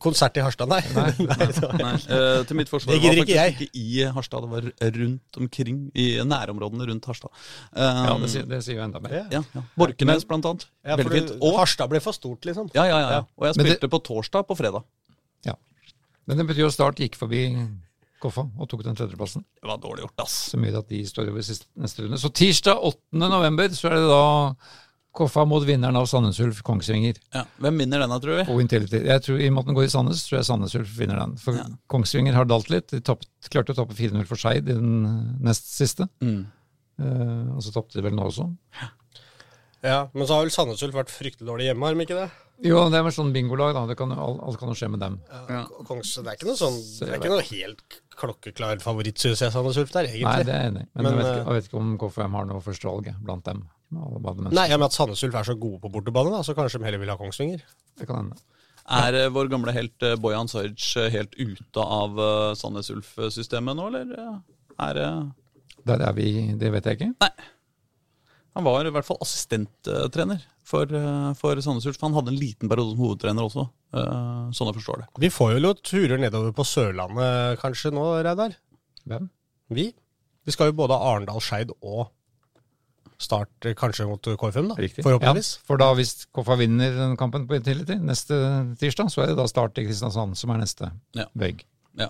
Speaker 1: konsert i Harstad, nei.
Speaker 2: Nei.
Speaker 1: det var-
Speaker 3: Nei, eh, til mitt forsvar
Speaker 1: Det
Speaker 3: det var
Speaker 1: gidder
Speaker 3: faktisk
Speaker 1: ikke jeg.
Speaker 3: ikke i Harstad, det var rundt omkring, i nærområdene rundt Harstad. Um,
Speaker 2: Ja, det, sier- det sier jo enda mer.
Speaker 1: Ja.
Speaker 3: ja, ja. Borkenes, blant annet.
Speaker 1: Ja, for
Speaker 3: Veldig fint.
Speaker 1: du-
Speaker 3: Og,
Speaker 1: Harstad ble for stort, liksom.
Speaker 3: ja, ja, ja, ja. og jeg
Speaker 2: Men det-
Speaker 3: spilte på torsdag på fredag.
Speaker 2: Men det betyr jo Start gikk forbi Koffa og tok den tredjeplassen.
Speaker 3: Det var dårlig gjort, ass.
Speaker 2: Så mye at de står over siste, neste runde. Så tirsdag 8. november så er det da Koffa mot vinneren av Sandnes Ulf Kongsvinger
Speaker 3: Ja. Hvem vinner denne, tror vi?
Speaker 2: og Intility. Jeg tror, I og med at den går i Sandnes, tror jeg Sandnes Ulf vinner den. For
Speaker 3: Ja.
Speaker 2: Kongsvinger har dalt litt. De tapt, klarte å tape 4-0 for Skeid i den nest siste.
Speaker 3: Mm.
Speaker 2: Eh, og så tapte de vel nå også.
Speaker 1: Ja, Men så har vel Sandnes Ulf vært fryktelig dårlig hjemme, har de ikke det?
Speaker 2: Jo, det er vel sånn bingolag, da. Det kan, jo- alt, alt kan jo skje med dem.
Speaker 3: Ja.
Speaker 1: Kongs, det er ikke noe sånn
Speaker 2: Så
Speaker 1: Det er
Speaker 2: jeg
Speaker 1: ikke noe helt klokkeklar favoritt, syns jeg, Sandnes Ulf der,
Speaker 2: Nei,
Speaker 1: egentlig.
Speaker 2: det er jeg enig i. Men,
Speaker 1: Men,
Speaker 2: jeg, vet ikke,
Speaker 1: eh,
Speaker 2: jeg vet ikke om KFM har noe førstevalg blant dem. Alle bad mennesker.
Speaker 1: Nei, ja, men at Sandnes Ulf er så gode på bortebane, da, så kanskje de heller vil ha Kongsvinger.
Speaker 2: Det kan hende.
Speaker 3: Er eh, vår gamle helt eh, Bojan Sarj eh, helt ute av eh, Sandnes Ulf-systemet nå, eller? eh, Er det
Speaker 2: Der er vi, det vet jeg ikke.
Speaker 3: Han var i hvert fall assistenttrener for, eh, for Sandnes Ulf. Han hadde en liten periode som hovedtrener også, eh, sånn jeg forstår det.
Speaker 1: Vi får jo noen turer nedover på Sørlandet kanskje nå, Reidar?
Speaker 2: Hvem?
Speaker 1: Vi? Vi skal jo både ha Arendal, Skeid og Start eh, kanskje mot KFUM, da. Forhåpentligvis.
Speaker 2: Ja, for da hvis KFA vinner den kampen på Intility neste tirsdag, så er det da Start i Kristiansand som er neste
Speaker 3: Ja.
Speaker 2: bøyg.
Speaker 3: Ja.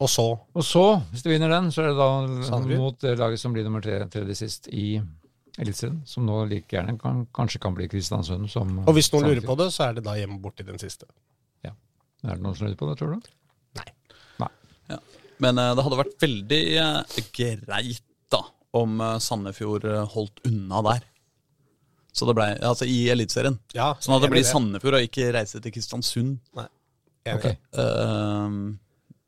Speaker 1: Og så
Speaker 2: Og så, hvis de vinner den, så er det da
Speaker 1: Sandefjord.
Speaker 2: mot det laget som blir nummer tre tredje sist i Eliteserien, som nå like gjerne kan, kanskje kan bli Kristiansund som
Speaker 1: Og hvis noen lurer på det, så er det da hjemme borti den siste.
Speaker 2: Er det noen som lurer på det, tror du?
Speaker 3: Men eh, det hadde vært veldig eh, greit da, om eh, Sandefjord eh, holdt unna der. Så det ble, altså I Eliteserien.
Speaker 1: Ja,
Speaker 3: Sånn at det
Speaker 1: enig i
Speaker 3: blir Sandefjord og ikke reise til Kristiansund.
Speaker 1: Enig.
Speaker 2: Ok.
Speaker 3: Eh,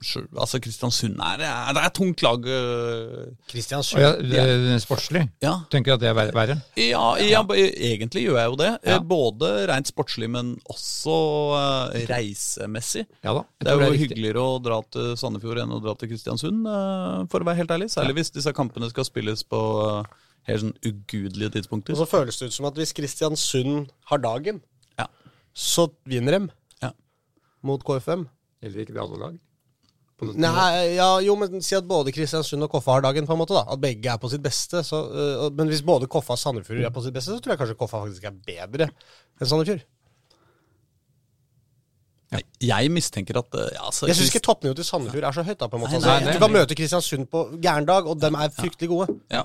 Speaker 3: sj- altså Kristiansund er, er, det er et tungt lag. eh,
Speaker 1: Kristiansund.
Speaker 2: Å ja, eh, sportslig.
Speaker 3: ja.
Speaker 2: Tenker jeg at det er ver- verre.
Speaker 3: Ja, ja, b- egentlig gjør jeg jo det.
Speaker 2: Ja.
Speaker 3: Eh, Både rent sportslig, men også eh, reisemessig.
Speaker 2: Ja da. jeg
Speaker 3: Det
Speaker 2: tror
Speaker 3: er jo
Speaker 2: riktig.
Speaker 3: hyggeligere å dra til Sandefjord enn å dra til Kristiansund, eh, for å være helt ærlig. Særlig hvis disse kampene skal spilles på eh, helt sånn ugudelige
Speaker 1: Og
Speaker 3: tidspunkter.
Speaker 1: så føles det ut som at hvis Kristiansund har dagen,
Speaker 3: Ja.
Speaker 1: så vinner de
Speaker 3: Ja.
Speaker 1: mot KFM.
Speaker 2: Eller ikke i alle lag.
Speaker 1: Nei, ja, jo, men si at både Kristiansund og Koffa har dagen, på en måte. da At begge er på sitt beste. Så, øh, og- men hvis både Koffa og Sandefjord er på sitt beste, så tror jeg kanskje Koffa faktisk er bedre enn Sandefjord.
Speaker 3: Nei, Jeg mistenker at eh, ja, altså,
Speaker 1: Jeg syns ikke toppnivået til Sandefjord er så høyt. da på en måte
Speaker 3: Nei,
Speaker 1: altså,
Speaker 3: nei,
Speaker 1: jeg-
Speaker 3: nei,
Speaker 1: Du kan
Speaker 3: nei.
Speaker 1: møte Kristiansund på gæren dag, og dem er fryktelig gode.
Speaker 3: ja.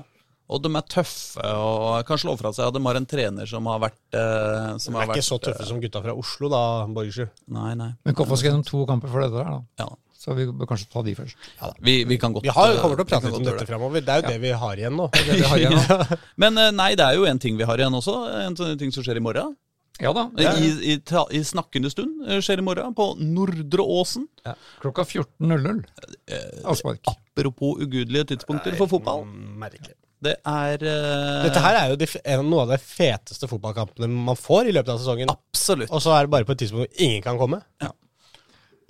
Speaker 3: Og de er tøffe og kan slå fra seg. Og de har en trener som har vært eh,
Speaker 1: De
Speaker 3: som
Speaker 1: er
Speaker 3: har
Speaker 1: ikke så
Speaker 3: vært,
Speaker 1: tøffe som gutta fra Oslo, da, Borgersrud.
Speaker 3: Nei, nei.
Speaker 2: Men Koffa skal gjennom to kamper for dette der, da.
Speaker 3: Ja.
Speaker 2: Så vi bør kanskje ta de først.
Speaker 3: Vi, vi kan godt
Speaker 1: Vi har,
Speaker 3: eh,
Speaker 1: kommer til å
Speaker 3: vi kan
Speaker 1: prate litt om
Speaker 3: godt gjøre
Speaker 1: dette
Speaker 3: det.
Speaker 1: fremover. Det er jo det vi har igjen nå.
Speaker 2: Det har jeg, da.
Speaker 3: Men eh, nei, det er jo en ting vi har igjen også. En sånn ting som skjer i morgen.
Speaker 2: Ja da.
Speaker 3: I, i, ta- I snakkende stund eh, skjer i morgen på Nordre Åsen.
Speaker 2: Ja. Klokka 14.00. Avspark.
Speaker 3: Apropos ugudelige tidspunkter for fotball.
Speaker 1: Merkelig.
Speaker 3: Det er eh,
Speaker 1: Dette her er jo de, f- en, noen av de feteste fotballkampene man får i løpet av sesongen.
Speaker 3: Absolutt.
Speaker 1: Og så er det bare på et tidspunkt hvor ingen kan komme.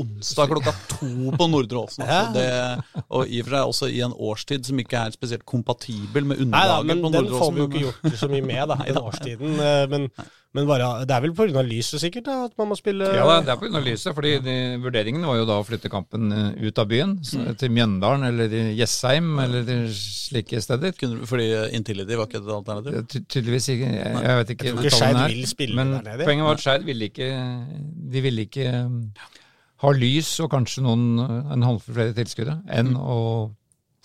Speaker 3: Onsdag klokka to på Nordre Åsen.
Speaker 1: Ja.
Speaker 3: Altså. Det, og i og for seg også i en årstid som ikke er spesielt kompatibel med
Speaker 1: Nei da,
Speaker 3: underlaget
Speaker 1: men
Speaker 3: på
Speaker 1: den
Speaker 3: Nordre
Speaker 1: får
Speaker 3: Åsen.
Speaker 1: vi jo ikke gjort så mye med, da, den årstiden. eh, Men, men bare, det er vel pga. lyset, sikkert, da, at man må spille
Speaker 2: Ja, da, det er pga. lyset. fordi de, Vurderingen var jo da å flytte kampen eh, ut av byen. s- Til Mjøndalen eller til Jessheim eller til slike steder.
Speaker 3: Kunne- Fordi Intility var ikke et alternativ.
Speaker 2: Det er ty- Tydeligvis ikke. Jeg, jeg vet ikke
Speaker 1: Jeg tror ikke
Speaker 2: detaljene
Speaker 1: Skeid
Speaker 2: her,
Speaker 1: vil spille
Speaker 2: Men
Speaker 1: der nede.
Speaker 2: poenget var at Skeid ville ikke De ville ikke eh, ha lys og kanskje noen, uh, en håndfull flere tilskuere
Speaker 3: Mm.
Speaker 2: enn å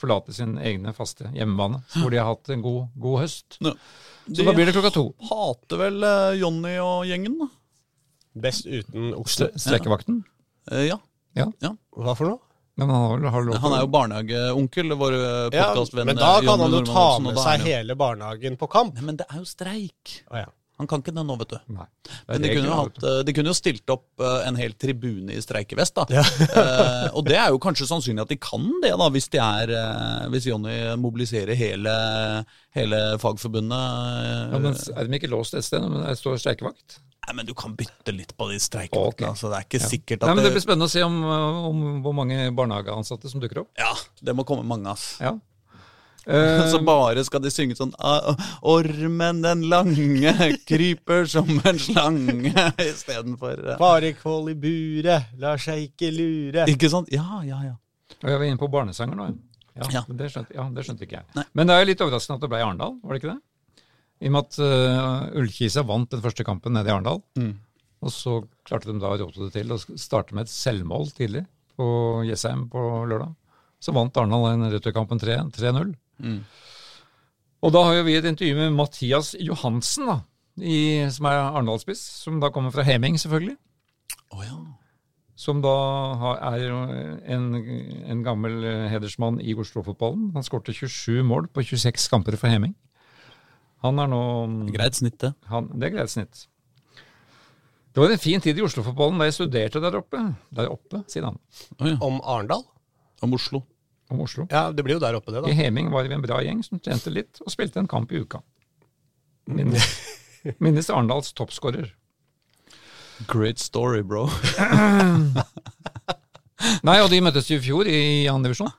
Speaker 2: forlate sin egne faste hjemmebane, hvor de har hatt en god, god høst. Så da blir det klokka to.
Speaker 3: Hater vel eh, Jonny og gjengen, da.
Speaker 1: best uten okse.
Speaker 2: Stre- Streikevakten.
Speaker 3: Eh, ja.
Speaker 1: Hva for noe?
Speaker 2: Men han har, vel- har lov
Speaker 3: Han er jo barnehageonkel, vår
Speaker 1: Ja,
Speaker 3: podkastvenn.
Speaker 1: men da kan han jo ta med seg hele barnehagen på kamp.
Speaker 3: Nei, men det er jo streik.
Speaker 1: Å, ja.
Speaker 3: Han kan ikke det nå, vet du.
Speaker 2: Nei.
Speaker 3: Men de kunne, jo hatt, eh, de kunne jo stilt opp eh, en hel tribune i streikevest, da. Eh, og det er jo kanskje sannsynlig at de kan det, da, hvis, de er, eh, hvis Jonny mobiliserer hele, hele fagforbundet.
Speaker 2: ja, men Er de ikke låst et sted? Men det står streikevakt.
Speaker 3: Nei, men du kan bytte litt på de streikevaktene.
Speaker 2: Ok.
Speaker 3: Altså, det er ikke sikkert at
Speaker 2: Nei, men det blir spennende å se om, øh, om hvor mange barnehageansatte som dukker opp.
Speaker 3: Ja, det må komme mange, ass.
Speaker 2: Ja. Eh,
Speaker 3: Så bare skal de synge sånn «Ah, Ormen den lange kryper som en slange istedenfor eh,
Speaker 1: Bare kål i buret, lar seg ikke lure.
Speaker 3: Ikke sant? Ja, ja, ja.
Speaker 2: og jeg var inne på barnesanger nå. Ja,
Speaker 3: Ja.
Speaker 2: ja. men Det, skjønte, ja det skjønte ikke jeg.
Speaker 3: Nei.
Speaker 2: Men det er jo litt overraskende at det ble i Arendal, var det ikke det? I og med at eh, Ullkisa vant den første kampen nede i Arendal.
Speaker 3: Mm.
Speaker 2: Og så klarte de da å rote det til og starte med et selvmål tidlig på Jessheim på lørdag. Så vant Arendal den returkampen 3 3-0.
Speaker 3: Mm.
Speaker 2: Og da har jo vi et intervju med Mathias Johansen, da, i, som er Arendal-spiss, som da kommer fra Heming, selvfølgelig
Speaker 3: Å ja.
Speaker 2: som da har- er jo en, en gammel eh, hedersmann i Oslo-fotballen. Han skårte 27 mål på 26 kamper for Heming. Han er nå
Speaker 3: Greit snitt, det.
Speaker 2: han, Det er greit snitt. Det var en fin tid i Oslo-fotballen da jeg studerte der oppe. Der oppe, sier han.
Speaker 3: Å ja.
Speaker 1: Om Arendal?
Speaker 3: Om Oslo.
Speaker 2: Om Oslo.
Speaker 1: Ja, det blir jo der oppe, det,
Speaker 2: I
Speaker 1: da.
Speaker 2: Heming var vi en bra gjeng som trente litt og spilte en kamp i uka. Minnes, minnes Arendals toppskårer.
Speaker 3: Great story, bro.
Speaker 2: Nei, og de møttes jo i fjor i andre divisjon.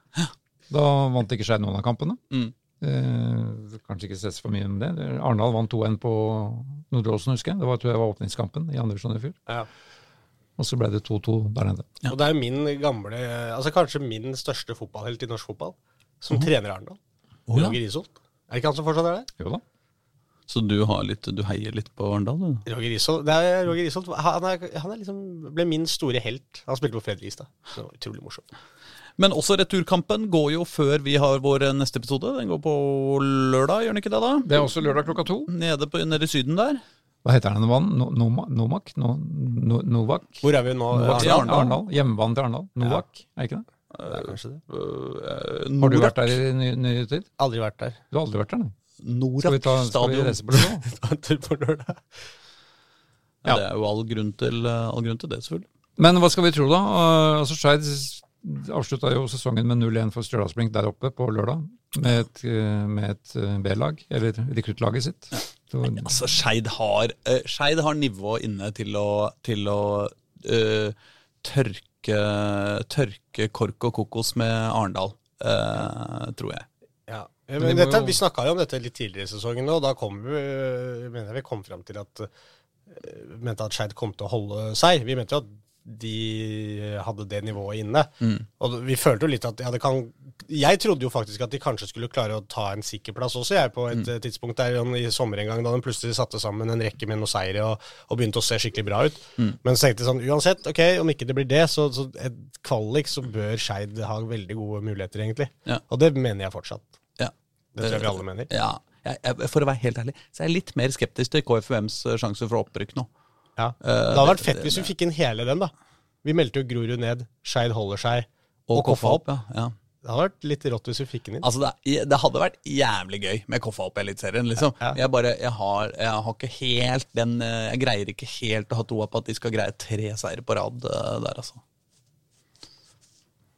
Speaker 2: Da vant ikke Skeid noen av kampene.
Speaker 3: Mm.
Speaker 2: Eh, kanskje ikke ses for mye om det. Arendal vant 2-1 på Nordåsen, husker jeg. Det var, tror jeg var åpningskampen i andre divisjon i fjor.
Speaker 1: Ja.
Speaker 2: Og så ble det 2-2 der nede.
Speaker 1: Og det er jo min gamle, altså kanskje min største fotballhelt i norsk fotball, som trener Arendal.
Speaker 3: Å ja.
Speaker 1: Roger Isholt. Er det ikke han som fortsatt er der?
Speaker 2: Jo da.
Speaker 3: Så du, har litt, du heier litt på Arendal, du?
Speaker 1: Roger Isholt, det er Roger Isholt han, er, han er liksom, ble min store helt. Han spilte på Fredrikstad. Det var utrolig morsomt.
Speaker 3: Men også returkampen går jo før vi har vår neste episode. Den går på lørdag, gjør den ikke det, da?
Speaker 2: Det er også lørdag klokka to.
Speaker 3: Nede, på, nede i Syden der.
Speaker 2: Hva heter den banen? No, Noma- Nomak? No, no, Novak?
Speaker 1: Hvor er vi nå?
Speaker 2: Novak?
Speaker 1: Arendal?
Speaker 3: Ja, Arendal.
Speaker 2: Arendal. Hjemmebane til Arendal. Novak, er ikke det?
Speaker 1: Det er kanskje det.
Speaker 3: Uh,
Speaker 2: Har du vært der i ny- nyere tid?
Speaker 1: Aldri vært der.
Speaker 2: Du har aldri vært der, nei? Skal vi,
Speaker 3: Norak
Speaker 2: ta, skal vi
Speaker 3: stadion.
Speaker 2: reise på det nå?
Speaker 1: Ta en tur på lørdag.
Speaker 3: Ja, det er jo all grunn til, øh, all grunn til det, selvfølgelig.
Speaker 2: Men hva skal vi tro, da? Eh, Altså, Skeid s- avslutta jo sesongen med 0-1 for Stjørdalsblink der oppe på lørdag. Med et, eh, med et eh, B-lag, eller rekruttlaget sitt. Så,
Speaker 3: Altså, Skeid har, eh, Skeid har nivå inne til å, til å eh, tørke, tørke kork og kokos med Arendal, eh, tror jeg.
Speaker 1: Ja.
Speaker 2: de
Speaker 1: Men
Speaker 2: må
Speaker 1: dette,
Speaker 2: jo-
Speaker 1: vi snakka jo om dette litt tidligere i sesongen, og da kom vi, jeg mener jeg vi kom fram til at eh, mente at Skeid kom til å holde seg. Vi mente jo at de hadde det nivået inne. Og vi følte jo litt at ja, det kan Jeg trodde jo faktisk at de kanskje skulle klare å ta en sikker plass også, jeg, på et eh, tidspunkt der i sommer en gang, da de plutselig satte sammen en rekke med noen seire og, og begynte å se skikkelig bra ut. Men så tenkte jeg sånn uansett, ok, om ikke det blir det, så, så et kvalik, så bør Skeid ha veldig gode muligheter, egentlig.
Speaker 3: Ja.
Speaker 1: Og det mener jeg fortsatt.
Speaker 3: Ja.
Speaker 1: Det tror jeg vi alle mener.
Speaker 3: Ja, jeg, jeg, For å være helt ærlig, så er jeg litt mer skeptisk til KFUMs eh, sjanse for opprykk nå.
Speaker 1: Ja. Det hadde vært fett hvis vi fikk inn hele den, da. Vi meldte jo Grorud ned, Skeid holder seg, og, Koffa opp.
Speaker 3: Ja, ja.
Speaker 1: Det hadde vært litt rått hvis vi fikk den inn.
Speaker 3: Altså, det, det hadde vært jævlig gøy med Koffa opp i Eliteserien. Liksom.
Speaker 1: Ja, ja.
Speaker 3: Jeg bare, jeg har, jeg har ikke helt den eh, Jeg greier ikke helt å ha troa på at de skal greie tre seire på rad eh, der, altså.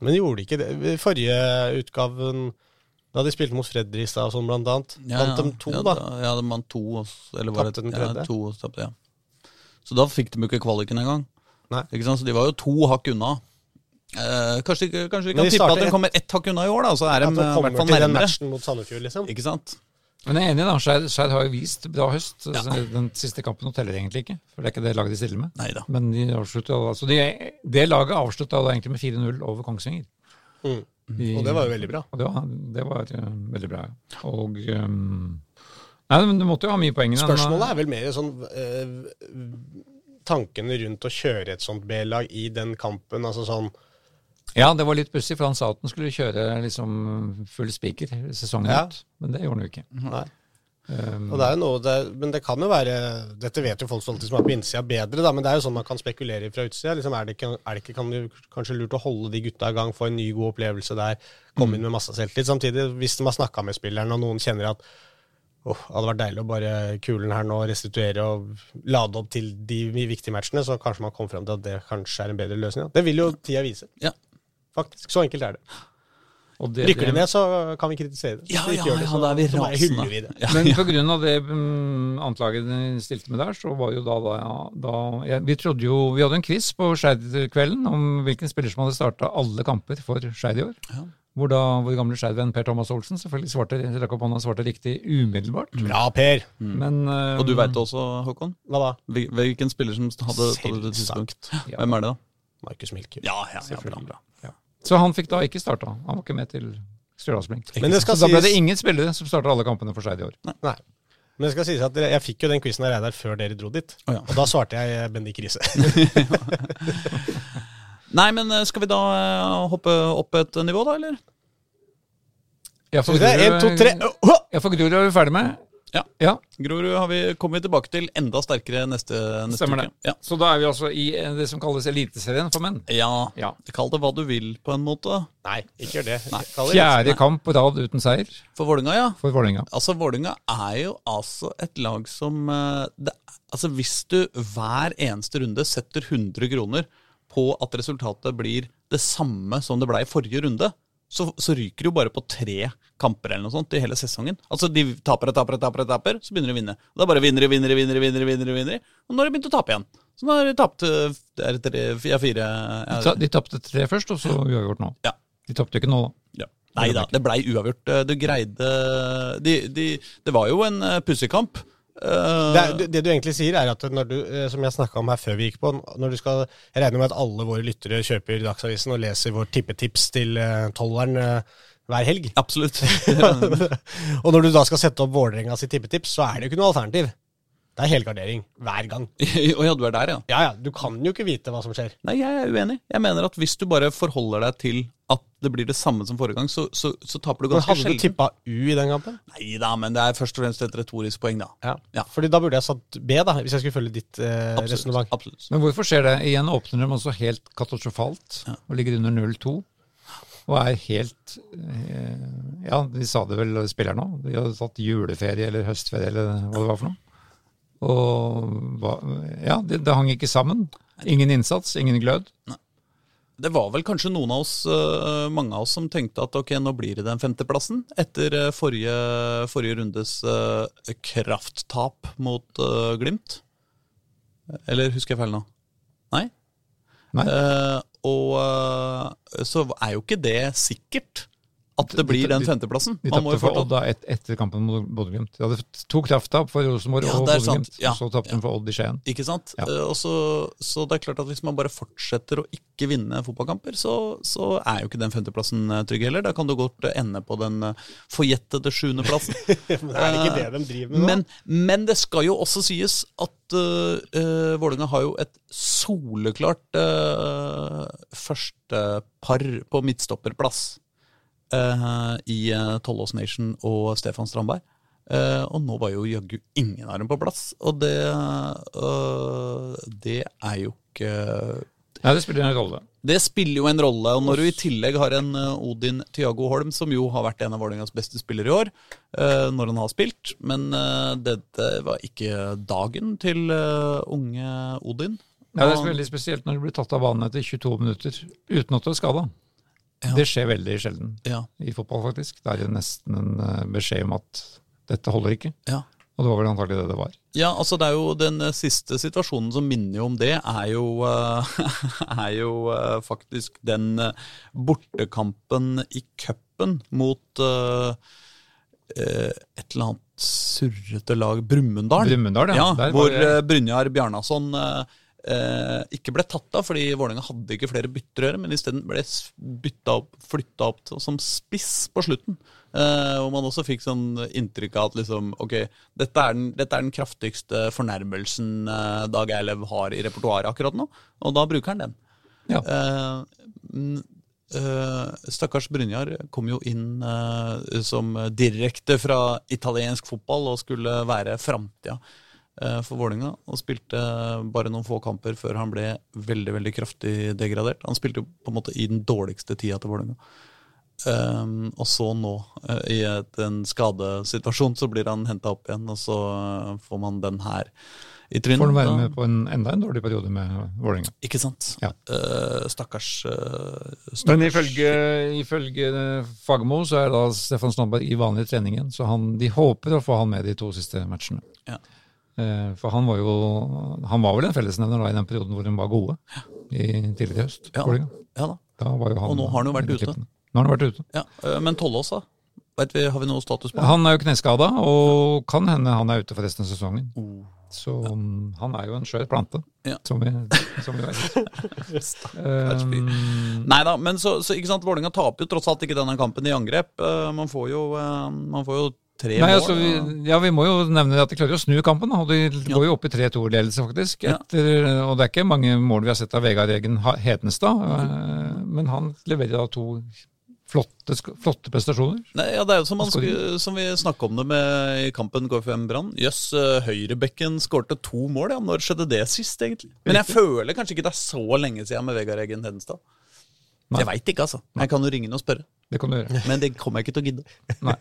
Speaker 1: Men de gjorde ikke det. I forrige utgaven, da de spilte mot Fredrikstad og sånn, blant annet, vant de to,
Speaker 3: ja,
Speaker 1: da.
Speaker 3: Ja, de vant to, og s- eller var
Speaker 1: Tapte den
Speaker 3: Ja,
Speaker 1: tredje.
Speaker 3: to, og så tapte, ja. Så da fikk de jo ikke kvaliken engang.
Speaker 1: Nei.
Speaker 3: Ikke sant? Så de var jo to hakk unna. Eh, kanskje, ikke- kanskje vi
Speaker 1: Men
Speaker 3: kan
Speaker 1: de
Speaker 3: tippe at
Speaker 1: starter
Speaker 3: de
Speaker 1: ett-
Speaker 3: kommer ett hakk unna i år, da, så er de
Speaker 1: At de
Speaker 3: eh, i
Speaker 1: kommer
Speaker 3: hvert fall
Speaker 1: til den
Speaker 3: nærmere.
Speaker 1: matchen mot Sandefjord, liksom.
Speaker 3: Ikke sant?
Speaker 2: men jeg er enig, da. Skeid Skeid har jo vist bra høst. Så Den siste kampen nå teller egentlig ikke, for det er ikke det laget de stiller med.
Speaker 3: Neida.
Speaker 2: Men de avslutta da altså de, Det laget avslutta da egentlig med 4-0 over Kongsvinger.
Speaker 1: Mm.
Speaker 2: De-
Speaker 1: Og det var jo veldig bra.
Speaker 2: Og det var, det var eh, veldig bra. Og eh, Nei, men du måtte jo ha mye poeng. i den, da.
Speaker 1: Spørsmålet er vel mer sånn eh, Tankene rundt å kjøre et sånt B-lag i den kampen, altså sånn
Speaker 2: Ja, det var litt pussig, for han sa at han skulle kjøre liksom full spiker sesongen
Speaker 1: Ja.
Speaker 2: ut. Men det gjorde han jo ikke.
Speaker 1: Nei.
Speaker 2: Um,
Speaker 1: Og det er jo noe, det, er- men det kan jo være Dette vet jo folk alltid som er på innsida bedre, da, men det er jo sånn man kan spekulere fra utsida. Liksom, er det ikke, er det ikke kan det kanskje lurt å holde de gutta i gang, få en ny, god opplevelse der, komme inn med masse selvtillit? Samtidig, hvis de har snakka med spilleren, og noen kjenner at Åh, det hadde vært deilig å bare kulen her nå restituere og lade opp til de viktige matchene, så kanskje man kommer frem til at det kanskje er en bedre løsning. ja. Det vil jo tida vise.
Speaker 3: Ja.
Speaker 1: Faktisk. Så enkelt er det.
Speaker 2: Og det-
Speaker 1: Rykker
Speaker 2: det-
Speaker 1: de ned, så kan vi kritisere det. Hvis
Speaker 3: Ja,
Speaker 1: de ikke
Speaker 3: ja,
Speaker 1: gjør det,
Speaker 3: ja,
Speaker 1: så-
Speaker 3: da er vi
Speaker 1: så bare
Speaker 3: rasende.
Speaker 1: hyller vi det.
Speaker 3: Ja,
Speaker 2: Men på grunn av det mm, anklaget de stilte med der, så var jo da, da, da jeg, Vi trodde jo Vi hadde en quiz på Skeid-kvelden om hvilken spiller som hadde starta alle kamper for Skeid i år.
Speaker 3: Ja.
Speaker 2: Hvor da vår gamle Skeid-venn Per Thomas Olsen selvfølgelig svarte, rakk opp hånda og svarte riktig umiddelbart.
Speaker 1: Bra, Per!
Speaker 2: Men eh,
Speaker 3: Og du veit det også, Håkon?
Speaker 1: Hva da?
Speaker 3: Hvil- Hvilken spiller som hadde på
Speaker 1: Selvsagt.
Speaker 3: det tidspunkt? Hvem er det, da?
Speaker 1: Markus Milke.
Speaker 3: Ja, ja, ja bra,
Speaker 2: Selvfølgelig.
Speaker 3: bra.
Speaker 2: Så han fikk da ikke starta. Han var ikke med til Stjørdalsblink.
Speaker 1: Men det
Speaker 2: Så
Speaker 1: skal
Speaker 2: da ble det
Speaker 1: sies-
Speaker 2: ingen spillere som starta alle kampene for Skeid i år.
Speaker 1: Nei. Men det skal sies at dere, jeg fikk jo den quizen av Reidar før dere dro dit.
Speaker 3: Å, ja.
Speaker 1: Og da svarte jeg eh, Bendik Riise.
Speaker 3: Nei, men eh, skal vi da eh, hoppe opp et nivå, da, eller?
Speaker 2: Ja,
Speaker 1: Skal vi se, En, to, tre Åh, åh!
Speaker 2: Ja, for Grorud er vi ferdig med.
Speaker 3: Ja.
Speaker 2: ja.
Speaker 3: Grorud har vi, kommer vi tilbake til enda sterkere neste, neste
Speaker 2: Stemmer
Speaker 3: uke. Ja.
Speaker 2: Så da er vi altså i eh, det som kalles Eliteserien for menn.
Speaker 3: ja.
Speaker 2: Ja.
Speaker 3: Kall det hva du vil, på en måte.
Speaker 1: Nei, ikke gjør det.
Speaker 3: Nei.
Speaker 1: Kall det
Speaker 2: Fjerde kamp på rad uten seier
Speaker 3: For Vålinga, ja.
Speaker 2: for Vålerenga.
Speaker 3: Altså, Vålinga er jo altså et lag som eh, det, Altså, hvis du hver eneste runde setter 100 kroner på at resultatet blir det samme som det ble i forrige runde, så, så ryker du bare på tre kamper eller noe sånt i hele sesongen. Altså, de taper og taper og taper, og taper, så begynner de å vinne. Og da bare vinner de, vinner de, vinner de, vinner de, vinner de, vinner de. Og nå har de begynt å tape igjen. Så nå har de tapt eh, er det tre, ja, fire ja,
Speaker 2: Ta- De tapte tre først, og så uavgjort nå.
Speaker 3: Ja.
Speaker 2: De tapte jo ikke nå, da.
Speaker 3: ja. Nei da, det blei uavgjort. Eh, Du greide eh, de, de, Det var jo en eh, pussekamp. Eh,
Speaker 1: Det, er- du- det du egentlig sier, er at når du, eh, som jeg snakka om her før vi gikk på når du skal, Jeg regner med at alle våre lyttere kjøper Dagsavisen og leser vårt tippetips til eh, tolveren eh, hver helg.
Speaker 3: Absolutt. Det-
Speaker 1: og når du da skal sette opp Vålerenga sitt tippetips, så er det jo ikke noe alternativ. Det er helgardering hver gang.
Speaker 3: Å ja, du er der, ja.
Speaker 1: Ja ja, du kan jo ikke vite hva som skjer.
Speaker 3: Nei, jeg er uenig. Jeg mener at hvis du bare forholder deg til at det blir det samme som forrige gang, så, så, så taper du
Speaker 1: Men
Speaker 3: ganske
Speaker 1: hadde du
Speaker 3: sjelden.
Speaker 1: tippa U i den kampen?
Speaker 3: Nei da, men det er først og fremst et retorisk poeng, da.
Speaker 1: Ja.
Speaker 3: Ja.
Speaker 1: Fordi da burde jeg satt B, da, hvis jeg skulle følge ditt eh, resonnement.
Speaker 3: Absolutt. absolutt.
Speaker 2: Men hvorfor skjer det? Igjen åpner de også helt katastrofalt og ligger under 0-2. Og er helt eh, Ja, de sa det vel, spillerne òg. De hadde tatt juleferie eller høstferie eller hva det var for noe. Og hva- Ja, det, det hang ikke sammen. Ingen innsats, ingen glød.
Speaker 3: Det var vel kanskje noen av oss, øh, mange av oss, som tenkte at ok, nå blir det den femteplassen. Etter øh, forrige, forrige rundes øh, krafttap mot øh, Glimt. Eller husker jeg feil nå? Nei?
Speaker 2: Nei.
Speaker 3: Eh, og øh, så er jo ikke det sikkert at det blir den femteplassen.
Speaker 2: De
Speaker 3: Man må
Speaker 2: tapte
Speaker 3: jo
Speaker 2: for
Speaker 3: fortsatt-
Speaker 2: Odda et, etter kampen mot Bodø-Glimt. De hadde to krafttap for Rosenborg
Speaker 3: Ja,
Speaker 2: og
Speaker 3: det er sant.
Speaker 2: Bodø-Glimt.
Speaker 3: Ja.
Speaker 2: og Så tapte de for Odd i Skien.
Speaker 3: Ikke sant?
Speaker 2: Ja.
Speaker 3: Eh, og så, så det er klart at hvis man bare fortsetter å ikke vinne fotballkamper, så, så er jo ikke den femteplassen eh, trygg heller. Da kan du godt eh, ende på den eh, forjettede sjuendeplassen.
Speaker 1: Men er det ikke det de driver med nå?
Speaker 3: men, men det skal jo også sies at uh, Vålerenga har jo et soleklart eh, førstepar på midtstopperplass eh, i eh, Tollås Nation og Stefan Strandberg. Eh, og nå var jo jaggu ingen av dem på plass, og det eh, Det er jo ikke
Speaker 2: Nei, det spiller ingen rolle.
Speaker 3: det spiller jo en rolle, og når du i tillegg har en eh, Odin Thiago Holm, som jo har vært en av Vålerengas beste spillere i år, eh, når han har spilt, men eh, dette var ikke dagen til eh, unge Odin.
Speaker 2: Ja, det er veldig spesielt når du blir tatt av banen etter 22 minutter uten at du er skada.
Speaker 3: Ja.
Speaker 2: Det skjer veldig sjelden
Speaker 3: Ja,
Speaker 2: i fotball, faktisk. Det er jo nesten en eh, beskjed om at dette holder ikke.
Speaker 3: ja.
Speaker 2: Og det var vel antagelig det det var.
Speaker 3: Ja, altså det er jo Den eh, siste situasjonen som minner jo om det, er jo, eh, er jo eh, faktisk den eh, bortekampen i cupen mot eh, eh, et eller annet surrete lag, Brumunddal.
Speaker 2: Brumunddal, ja.
Speaker 3: Ja,
Speaker 2: Der var
Speaker 3: hvor
Speaker 2: det-
Speaker 3: eh, Brynjar Bjarnason eh, eh, ikke ble tatt av, fordi Vålerenga hadde ikke flere bytter å gjøre, men isteden ble s- bytta opp, flytta opp til, som spiss på slutten. Eh, og man også fikk sånn inntrykk av at liksom, ok, dette er den, dette er den kraftigste fornærmelsen eh, Dag Eilev har i repertoaret akkurat nå, og da bruker han den.
Speaker 2: Ja.
Speaker 3: Eh, mm, eh, stakkars Brynjar kom jo inn eh, som direkte fra italiensk fotball og skulle være framtida eh, for Vålerenga. Og spilte bare noen få kamper før han ble veldig veldig kraftig degradert. Han spilte jo på en måte i den dårligste tida til Vålerenga. Ehm, og så nå, eh, i et, en skadesituasjon, så blir han henta opp igjen, og så eh, får man den her i trynet.
Speaker 2: Får han være
Speaker 3: da.
Speaker 2: med på en enda en dårlig periode med Vålerenga.
Speaker 3: Ikke sant?
Speaker 2: Ja.
Speaker 3: Eh, stakkars, eh, stakkars
Speaker 2: Men ifølge, ifølge eh, Fagermo så er da Stefan Strandberg i vanlig trening igjen, så han, de håper å få han med de to siste matchene.
Speaker 3: Ja.
Speaker 2: Eh, For han var jo Han var vel en fellesnevner da i den perioden hvor de var gode i tidligere i høst.
Speaker 3: Ja.
Speaker 2: Vålerenga.
Speaker 3: Ja da.
Speaker 2: Da var jo han
Speaker 3: Og nå har han jo vært
Speaker 2: i
Speaker 3: ute.
Speaker 2: klippene. Nå har han vært ute.
Speaker 3: Ja. eh, men Tollås, da? Vet vi, har vi noe status på?
Speaker 2: Han er jo kneskada, og kan hende han er ute for resten av sesongen.
Speaker 3: Oh.
Speaker 2: Så um, han er jo en skjør plante,
Speaker 3: Ja.
Speaker 2: som vi, som vi vet.
Speaker 3: fyr.
Speaker 2: Um,
Speaker 3: Nei da, men så, så ikke sant, Vålerenga taper jo tross alt ikke denne kampen i angrep. Eh, man, får jo, eh, man får jo tre
Speaker 2: Nei,
Speaker 3: mål.
Speaker 2: altså, vi,
Speaker 3: og-
Speaker 2: ja, vi må jo nevne at de klarer å snu kampen. da, og De
Speaker 3: Ja.
Speaker 2: går jo opp i 3-2-ledelse, faktisk.
Speaker 3: Ja.
Speaker 2: Etter, og det er ikke mange mål vi har sett av Vegard Egen Ha- Hedenstad. eh, Men han leverer da to flotte, sk- flotte prestasjoner.
Speaker 3: Nei, ja, det er jo som, man
Speaker 2: Skal
Speaker 3: skulle, som vi snakka om det med i kampen KFM Brann. Jøss, eh, høyrebekken skårte to mål, ja. Når skjedde det sist, egentlig? Men jeg føler kanskje ikke det er så lenge siden med Vegard Eggen Hedenstad.
Speaker 2: Nei.
Speaker 3: Jeg veit ikke, altså. Jeg kan jo ringe han og spørre.
Speaker 2: Det kan du gjøre.
Speaker 3: Men det kommer jeg ikke til å gidde.
Speaker 2: Nei.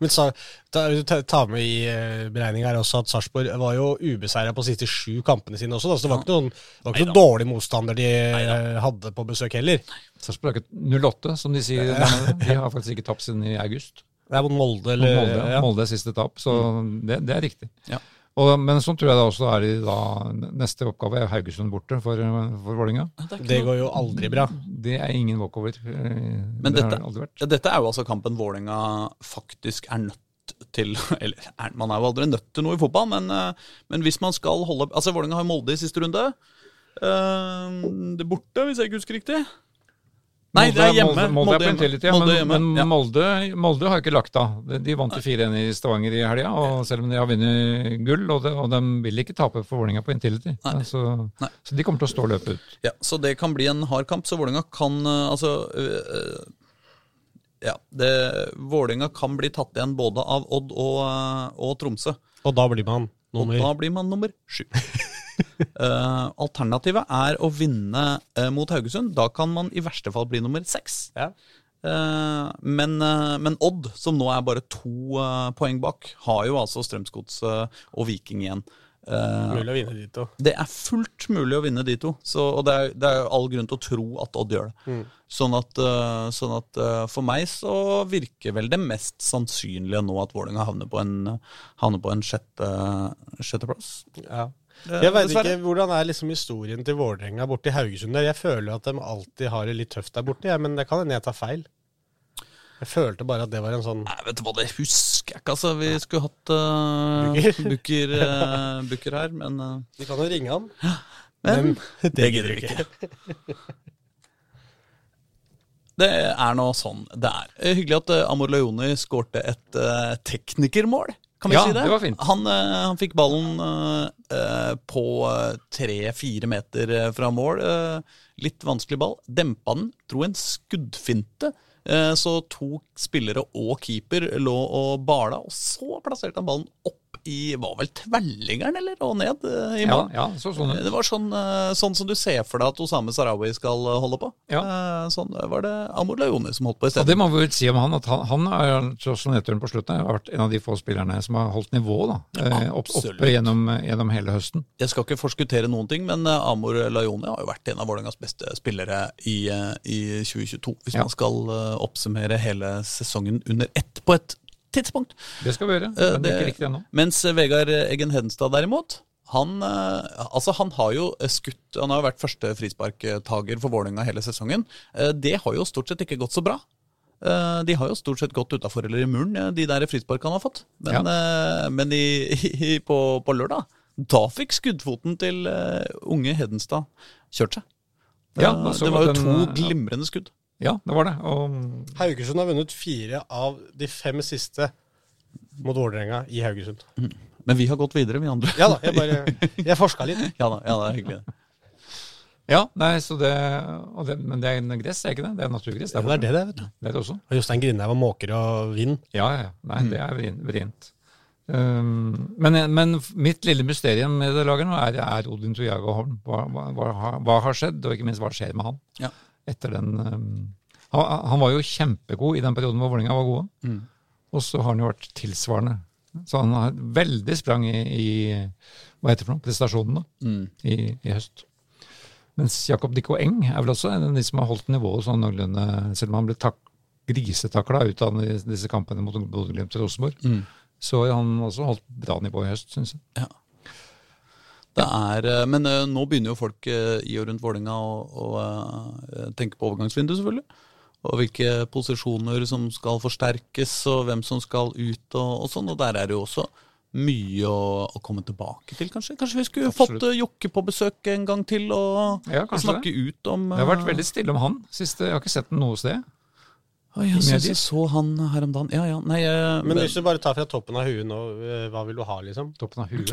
Speaker 1: Men sa, ta, ta ta med i eh, beregninga her også at Sarpsborg var jo ubeseira på de siste sju kampene sine også. Da, så det var ikke noen, det var ikke noen dårlig motstander de eh, hadde på besøk heller.
Speaker 2: Sarpsborg er ikke 08, som de sier. der nede. De har faktisk ikke tapt siden i august.
Speaker 1: Det er mot Molde
Speaker 2: Mot
Speaker 1: eller
Speaker 2: Molde, ja.
Speaker 1: ja.
Speaker 2: Molde er siste tap, så det, det er riktig.
Speaker 3: Mm. Ja.
Speaker 2: Og, men sånn tror jeg det også er i da, neste oppgave er Haugesund borte for, for Vålinga.
Speaker 1: Det går jo aldri bra.
Speaker 2: Det er ingen walkover. Men det
Speaker 3: dette-
Speaker 2: har det aldri vært.
Speaker 3: Ja, dette er jo altså kampen Vålerenga faktisk er nødt til Eller er, man er jo aldri nødt til noe i fotball, men, eh, men hvis man skal holde Altså, Vålerenga har Molde i siste runde. Eh, det er borte, hvis jeg ikke husker riktig. Nei, det er hjemme.
Speaker 2: Molde, Molde, er på Intility, ja,
Speaker 3: Molde
Speaker 2: men,
Speaker 3: er hjemme.
Speaker 2: men
Speaker 3: ja.
Speaker 2: Molde, Molde har ikke lagt av. De- De vant jo 4-1 i Stavanger i helga, og selv om de har vunnet gull, og, det, og de vil ikke tape for Vålinga på Intility.
Speaker 3: Nei.
Speaker 2: Så,
Speaker 3: Nei.
Speaker 2: så de kommer til å stå løpet ut.
Speaker 3: Ja, så det kan bli en hard kamp. Så Vålerenga kan eh, altså eh, eh, Ja, det- Vålerenga kan bli tatt igjen både av Odd og, eh, og Tromsø.
Speaker 1: Og da blir man
Speaker 3: Og
Speaker 1: nummer
Speaker 3: da blir man nummer sju. Eh, alternativet er å vinne eh, mot Haugesund. Da kan man i verste fall bli nummer seks.
Speaker 1: Ja.
Speaker 3: Eh, men, eh, men Odd, som nå er bare to eh, poeng bak, har jo altså Strømsgodset og Viking igjen. Eh,
Speaker 1: Mulig å vinne dit òg.
Speaker 3: det er fullt mulig å vinne de to, så, og det er, det er jo all grunn til å tro at Odd gjør det.
Speaker 1: Mm.
Speaker 3: Sånn at, eh, sånn at eh, for meg så virker vel det mest sannsynlige nå at Vålerenga havner på en, havner på en sjette, sjetteplass.
Speaker 1: Ja.
Speaker 3: Eh,
Speaker 1: Jeg veit
Speaker 3: dessverre.
Speaker 1: ikke hvordan er liksom historien til Vålerenga borte i Haugesund. der. Jeg føler at de alltid har det litt tøft der borte, jeg, men det kan hende jeg tar feil. Jeg følte bare at det var en sånn
Speaker 3: Nei, vet du hva, det husker jeg ikke, altså. Vi skulle hatt uh, booker, eh, booker her, men eh,
Speaker 1: Vi kan jo ringe han.
Speaker 3: Men
Speaker 1: det gidder vi ikke.
Speaker 3: det er nå sånn det er. Eh, Hyggelig at eh, Amor Leoni skårte et eh, teknikermål. Kan vi
Speaker 2: Ja,
Speaker 3: si det?
Speaker 2: det var fint.
Speaker 3: Han, eh, han fikk ballen eh, eh, på tre-fire meter eh, fra mål. eh, litt vanskelig ball. Dempa den, dro en skuddfinte. eh, så to spillere og keeper lå og bala, og så plasserte han ballen opp i Var vel tverrliggeren, eller? Og ned eh, i
Speaker 2: Ja,
Speaker 3: mål.
Speaker 2: ja, så sånn ut.
Speaker 3: Det var sånn, eh, sånn som du ser for deg at Osame Sarawi skal eh, holde på. Eh, Sånn var det Amor Leone som holdt på
Speaker 2: Og det
Speaker 3: isteden.
Speaker 2: må vi vel si om han, at han, han er tross nedturen på slutten har vært en av de få spillerne som har holdt nivået da, eh, opp,
Speaker 3: Absolutt.
Speaker 2: oppe gjennom, gjennom hele høsten.
Speaker 3: Jeg skal ikke forskuttere noen ting, men eh, Amor Leone har jo vært en av Vålerengas beste spillere i, eh, i 2022. Hvis
Speaker 2: Ja.
Speaker 3: man skal eh, oppsummere hele sesongen under ett på et tidspunkt.
Speaker 2: Det skal vi gjøre,
Speaker 3: Eh,
Speaker 2: men det er ikke
Speaker 3: det-
Speaker 2: riktig ennå.
Speaker 3: Mens eh, Vegard Eggen Hedenstad derimot, han, eh, altså han har jo skutt Han har jo vært første frisparktager for Vålerenga hele sesongen. Eh, Det har jo stort sett ikke gått så bra. Eh, De har jo stort sett gått utafor eller i muren, eh, de der frisparkene han har fått. Men, eh, men i, i, på, på lørdag, da fikk skuddfoten til eh, unge Hedenstad kjørt seg.
Speaker 2: Ja,
Speaker 3: Eh,
Speaker 2: da så
Speaker 3: det
Speaker 2: vi
Speaker 3: var jo
Speaker 2: at den,
Speaker 3: to
Speaker 2: eh, ja.
Speaker 3: glimrende skudd.
Speaker 2: Ja, det var det. Og
Speaker 1: Haugesund har vunnet fire av de fem siste mot Vålerenga i Haugesund.
Speaker 3: Men vi har gått videre, vi andre.
Speaker 1: Ja da, jeg bare Jeg forska litt.
Speaker 3: Ja da, ja, det er hyggelig.
Speaker 2: Ja, nei, så det, og det, men det er en gress, er ikke det? Det er naturgress.
Speaker 1: Det
Speaker 2: der
Speaker 1: er
Speaker 2: borte.
Speaker 1: det det, er, vet du.
Speaker 2: Det er det også.
Speaker 1: Og Jostein Grindhaug var måker og vind.
Speaker 2: Ja, ja, ja. Nei,
Speaker 3: Mm.
Speaker 2: det er vrien- vrient. Um, men, men mitt lille mysterium med det laget nå er, er Odin Tojago Holm. Hva, hva, hva, har- hva har skjedd, og ikke minst hva skjer med han
Speaker 3: Ja.
Speaker 2: etter den um, Han, han var jo kjempegod i den perioden hvor Vålerenga var gode.
Speaker 3: Mm.
Speaker 2: Og så har han jo vært tilsvarende. Så han har veldig sprang i, i hva heter det for noe, prestasjonen da,
Speaker 3: Mm.
Speaker 2: i, i høst. Mens Jakob Dikko Eng er vel også en av de som har holdt nivået sånn noenlunde, selv om han ble tak grisetakla ut av de- disse kampene mot Bodø-Glimt og Rosenborg.
Speaker 3: Mm.
Speaker 2: Så har han også holdt bra nivå i høst, syns jeg.
Speaker 3: Ja. Det er, eh, men eh, nå begynner jo folk eh, i og rundt Vålerenga å, å eh, tenke på overgangsvinduet, selvfølgelig. Og hvilke posisjoner som skal forsterkes, og hvem som skal ut og, og sånn. Og der er det jo også mye å, å komme tilbake til, kanskje. Kanskje vi skulle
Speaker 2: Absolutt.
Speaker 3: fått eh, Jokke på besøk en gang til og,
Speaker 2: Ja,
Speaker 3: og
Speaker 2: kanskje
Speaker 3: snakke ut om
Speaker 2: Det har vært
Speaker 3: eh,
Speaker 2: veldig stille om han siste. Jeg har ikke sett den noe sted.
Speaker 3: Oi, eh, jeg
Speaker 2: medier.
Speaker 3: synes jeg så han her om dagen. Ja, ja, nei eh,
Speaker 1: Men hvis du bare tar fra toppen av huet nå, eh, hva vil du ha, liksom?
Speaker 2: Toppen av huet.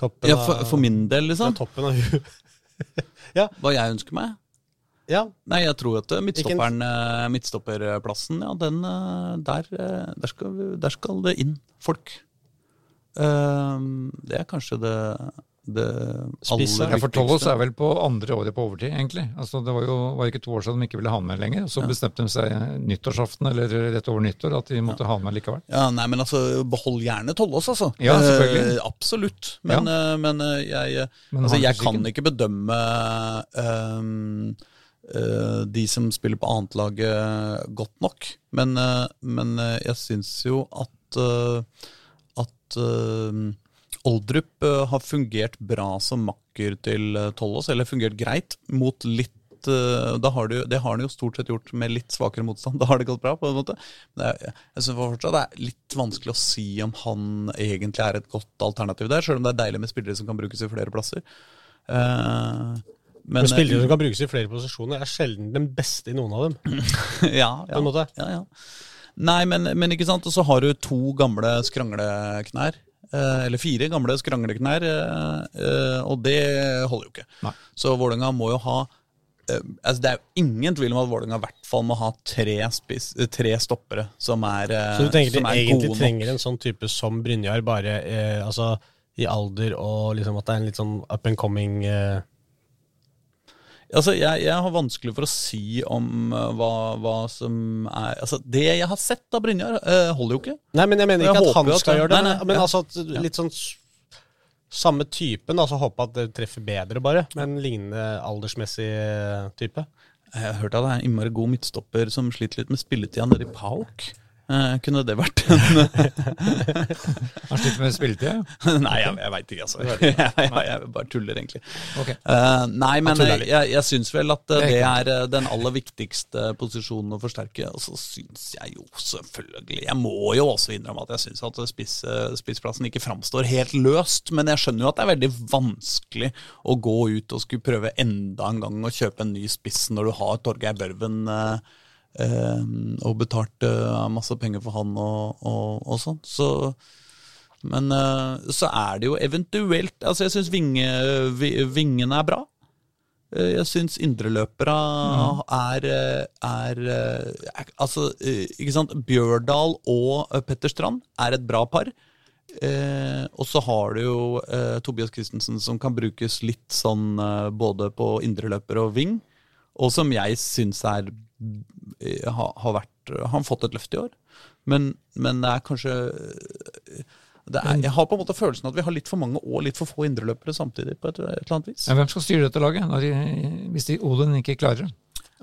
Speaker 1: Toppen
Speaker 3: ja, for, for min del,
Speaker 1: Fra
Speaker 3: liksom.
Speaker 1: toppen av huet.
Speaker 3: Hva jeg ønsker meg.
Speaker 1: Ja,
Speaker 3: Nei, jeg tror at eh,
Speaker 1: Ikke en-
Speaker 3: midtstopperen, eh, midtstopperplassen, ja, den eh, der, eh, der, skal, der skal det inn folk. Ehm, det er kanskje det, det
Speaker 1: Spiss er
Speaker 2: Ja, for Tollos er vel på andre året på overtid, egentlig. Altså, det var jo var ikke to år siden de ikke ville ha han med lenger. Så bestemte de seg nyttårsaften eller rett over nyttår at de måtte ha han med likevel.
Speaker 3: Ja, nei, men altså, behold gjerne Tollås, altså.
Speaker 2: Ja, selvfølgelig.
Speaker 3: Eh, absolutt. Men, eh, men eh, jeg, eh,
Speaker 2: Men
Speaker 3: altså,
Speaker 2: han er
Speaker 3: jeg
Speaker 2: sikker.
Speaker 3: kan ikke bedømme ehm, eh, de som spiller på annetlaget eh, godt nok. Men, eh, men eh, jeg syns jo at eh, at eh, Oldrup eh, har fungert bra som makker til eh, Tollås, eller fungert greit, mot litt eh, da har det, jo, det har han jo stort sett gjort med litt svakere motstand. Da har det gått bra, på en måte. Men jeg, jeg synes fortsatt det er litt vanskelig å si om han egentlig er et godt alternativ der, sjøl om det er deilig med spillere som kan brukes i flere plasser. Eh, men eh,
Speaker 1: Men spillere som kan brukes i flere posisjoner, er sjelden den beste i noen av dem.
Speaker 3: ja,
Speaker 1: på en
Speaker 3: ja.
Speaker 1: måte.
Speaker 3: ja, ja. Nei, men, men ikke sant, og så har du to gamle skrangleknær. eh, Eller fire gamle skrangleknær, eh, eh, og det holder jo ikke.
Speaker 2: Nei.
Speaker 3: Så Vålerenga må jo ha eh, altså Det er jo ingen tvil om at Vålerenga i hvert fall må ha tre, spiss, eh, tre stoppere som er, eh,
Speaker 1: Så du tenker
Speaker 3: som
Speaker 1: de
Speaker 3: er
Speaker 1: egentlig
Speaker 3: gode nok.
Speaker 1: trenger en sånn type som Brynjar, bare eh, altså, i alder og liksom at det er en litt sånn up and coming eh,
Speaker 3: Altså, jeg, jeg har vanskelig for å si om eh, hva, hva som er Altså, det jeg har sett av Brynjar, eh, holder jo ikke.
Speaker 1: Nei, men jeg mener
Speaker 3: Jeg
Speaker 1: ikke at
Speaker 3: håper
Speaker 1: han
Speaker 3: jo at
Speaker 1: skal
Speaker 3: det-
Speaker 1: gjøre det,
Speaker 3: Nei,
Speaker 1: men-
Speaker 3: nei,
Speaker 1: men
Speaker 3: ja.
Speaker 1: altså at litt sånn s- samme typen, altså håpe at det treffer bedre, bare, men lignende aldersmessig eh, type.
Speaker 3: Jeg har hørt at det er en innmari god midtstopper som sliter litt med spilletida nede i Pauk. Eh, kunne det vært en
Speaker 2: Han sliter med spilletid.
Speaker 3: Nei, jeg, jeg veit ikke, altså. Jeg, jeg, jeg bare tuller, egentlig.
Speaker 2: Ok.
Speaker 3: Eh, nei, men
Speaker 1: tuller
Speaker 3: jeg,
Speaker 1: litt.
Speaker 3: jeg, jeg syns vel at eh,
Speaker 2: Det
Speaker 3: det
Speaker 2: er
Speaker 3: er eh, den aller viktigste posisjonen å forsterke. Og så syns jeg jo selvfølgelig Jeg må jo også innrømme at jeg syns at spiss, eh, spissplassen ikke framstår helt løst, men jeg skjønner jo at det er veldig vanskelig å gå ut og skulle prøve enda en gang å kjøpe en ny spiss når du har Torgeir Børven eh, eh, og betalt eh, masse penger for han og, og, og sånn. Så men eh, så er det jo eventuelt Altså, jeg syns vinge, vi- vingene er bra. Eh, jeg syns indreløpere er, eh, er, eh, er Altså, eh, ikke sant. Bjørdal og eh, Petter Strand er et bra par. Eh, og så har du jo eh, Tobias Christensen som kan brukes litt sånn eh, både på indreløper og ving. Og som jeg syns er eh, har, har vært Har fått et løft i år. Men, men det er kanskje eh, det er, Jeg har på en måte følelsen at vi har litt for mange og litt for få indreløpere samtidig. på et, et eller annet vis.
Speaker 2: Ja, hvem skal styre dette laget når de, hvis de Odin ikke klarer det?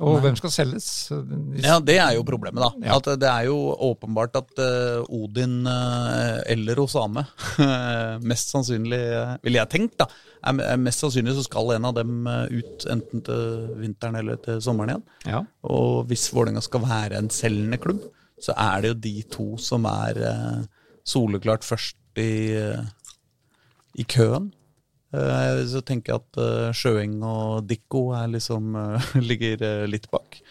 Speaker 2: Og hvem skal selges? De-
Speaker 3: Ja, det er jo problemet, da.
Speaker 2: Ja.
Speaker 3: At det er jo åpenbart at eh, Odin eh, eller Osame Mest sannsynlig, eh, ville jeg tenkt, da. Er, er mest sannsynlig så skal en av dem eh, ut enten til vinteren eller til sommeren igjen.
Speaker 2: Ja.
Speaker 3: Og hvis Vålerenga skal være en selgende klubb, så er det jo de to som er eh, soleklart først i, eh, i køen. Eh, så tenker jeg at eh, Sjøeng og Dikko er liksom, eh, ligger eh, litt bak.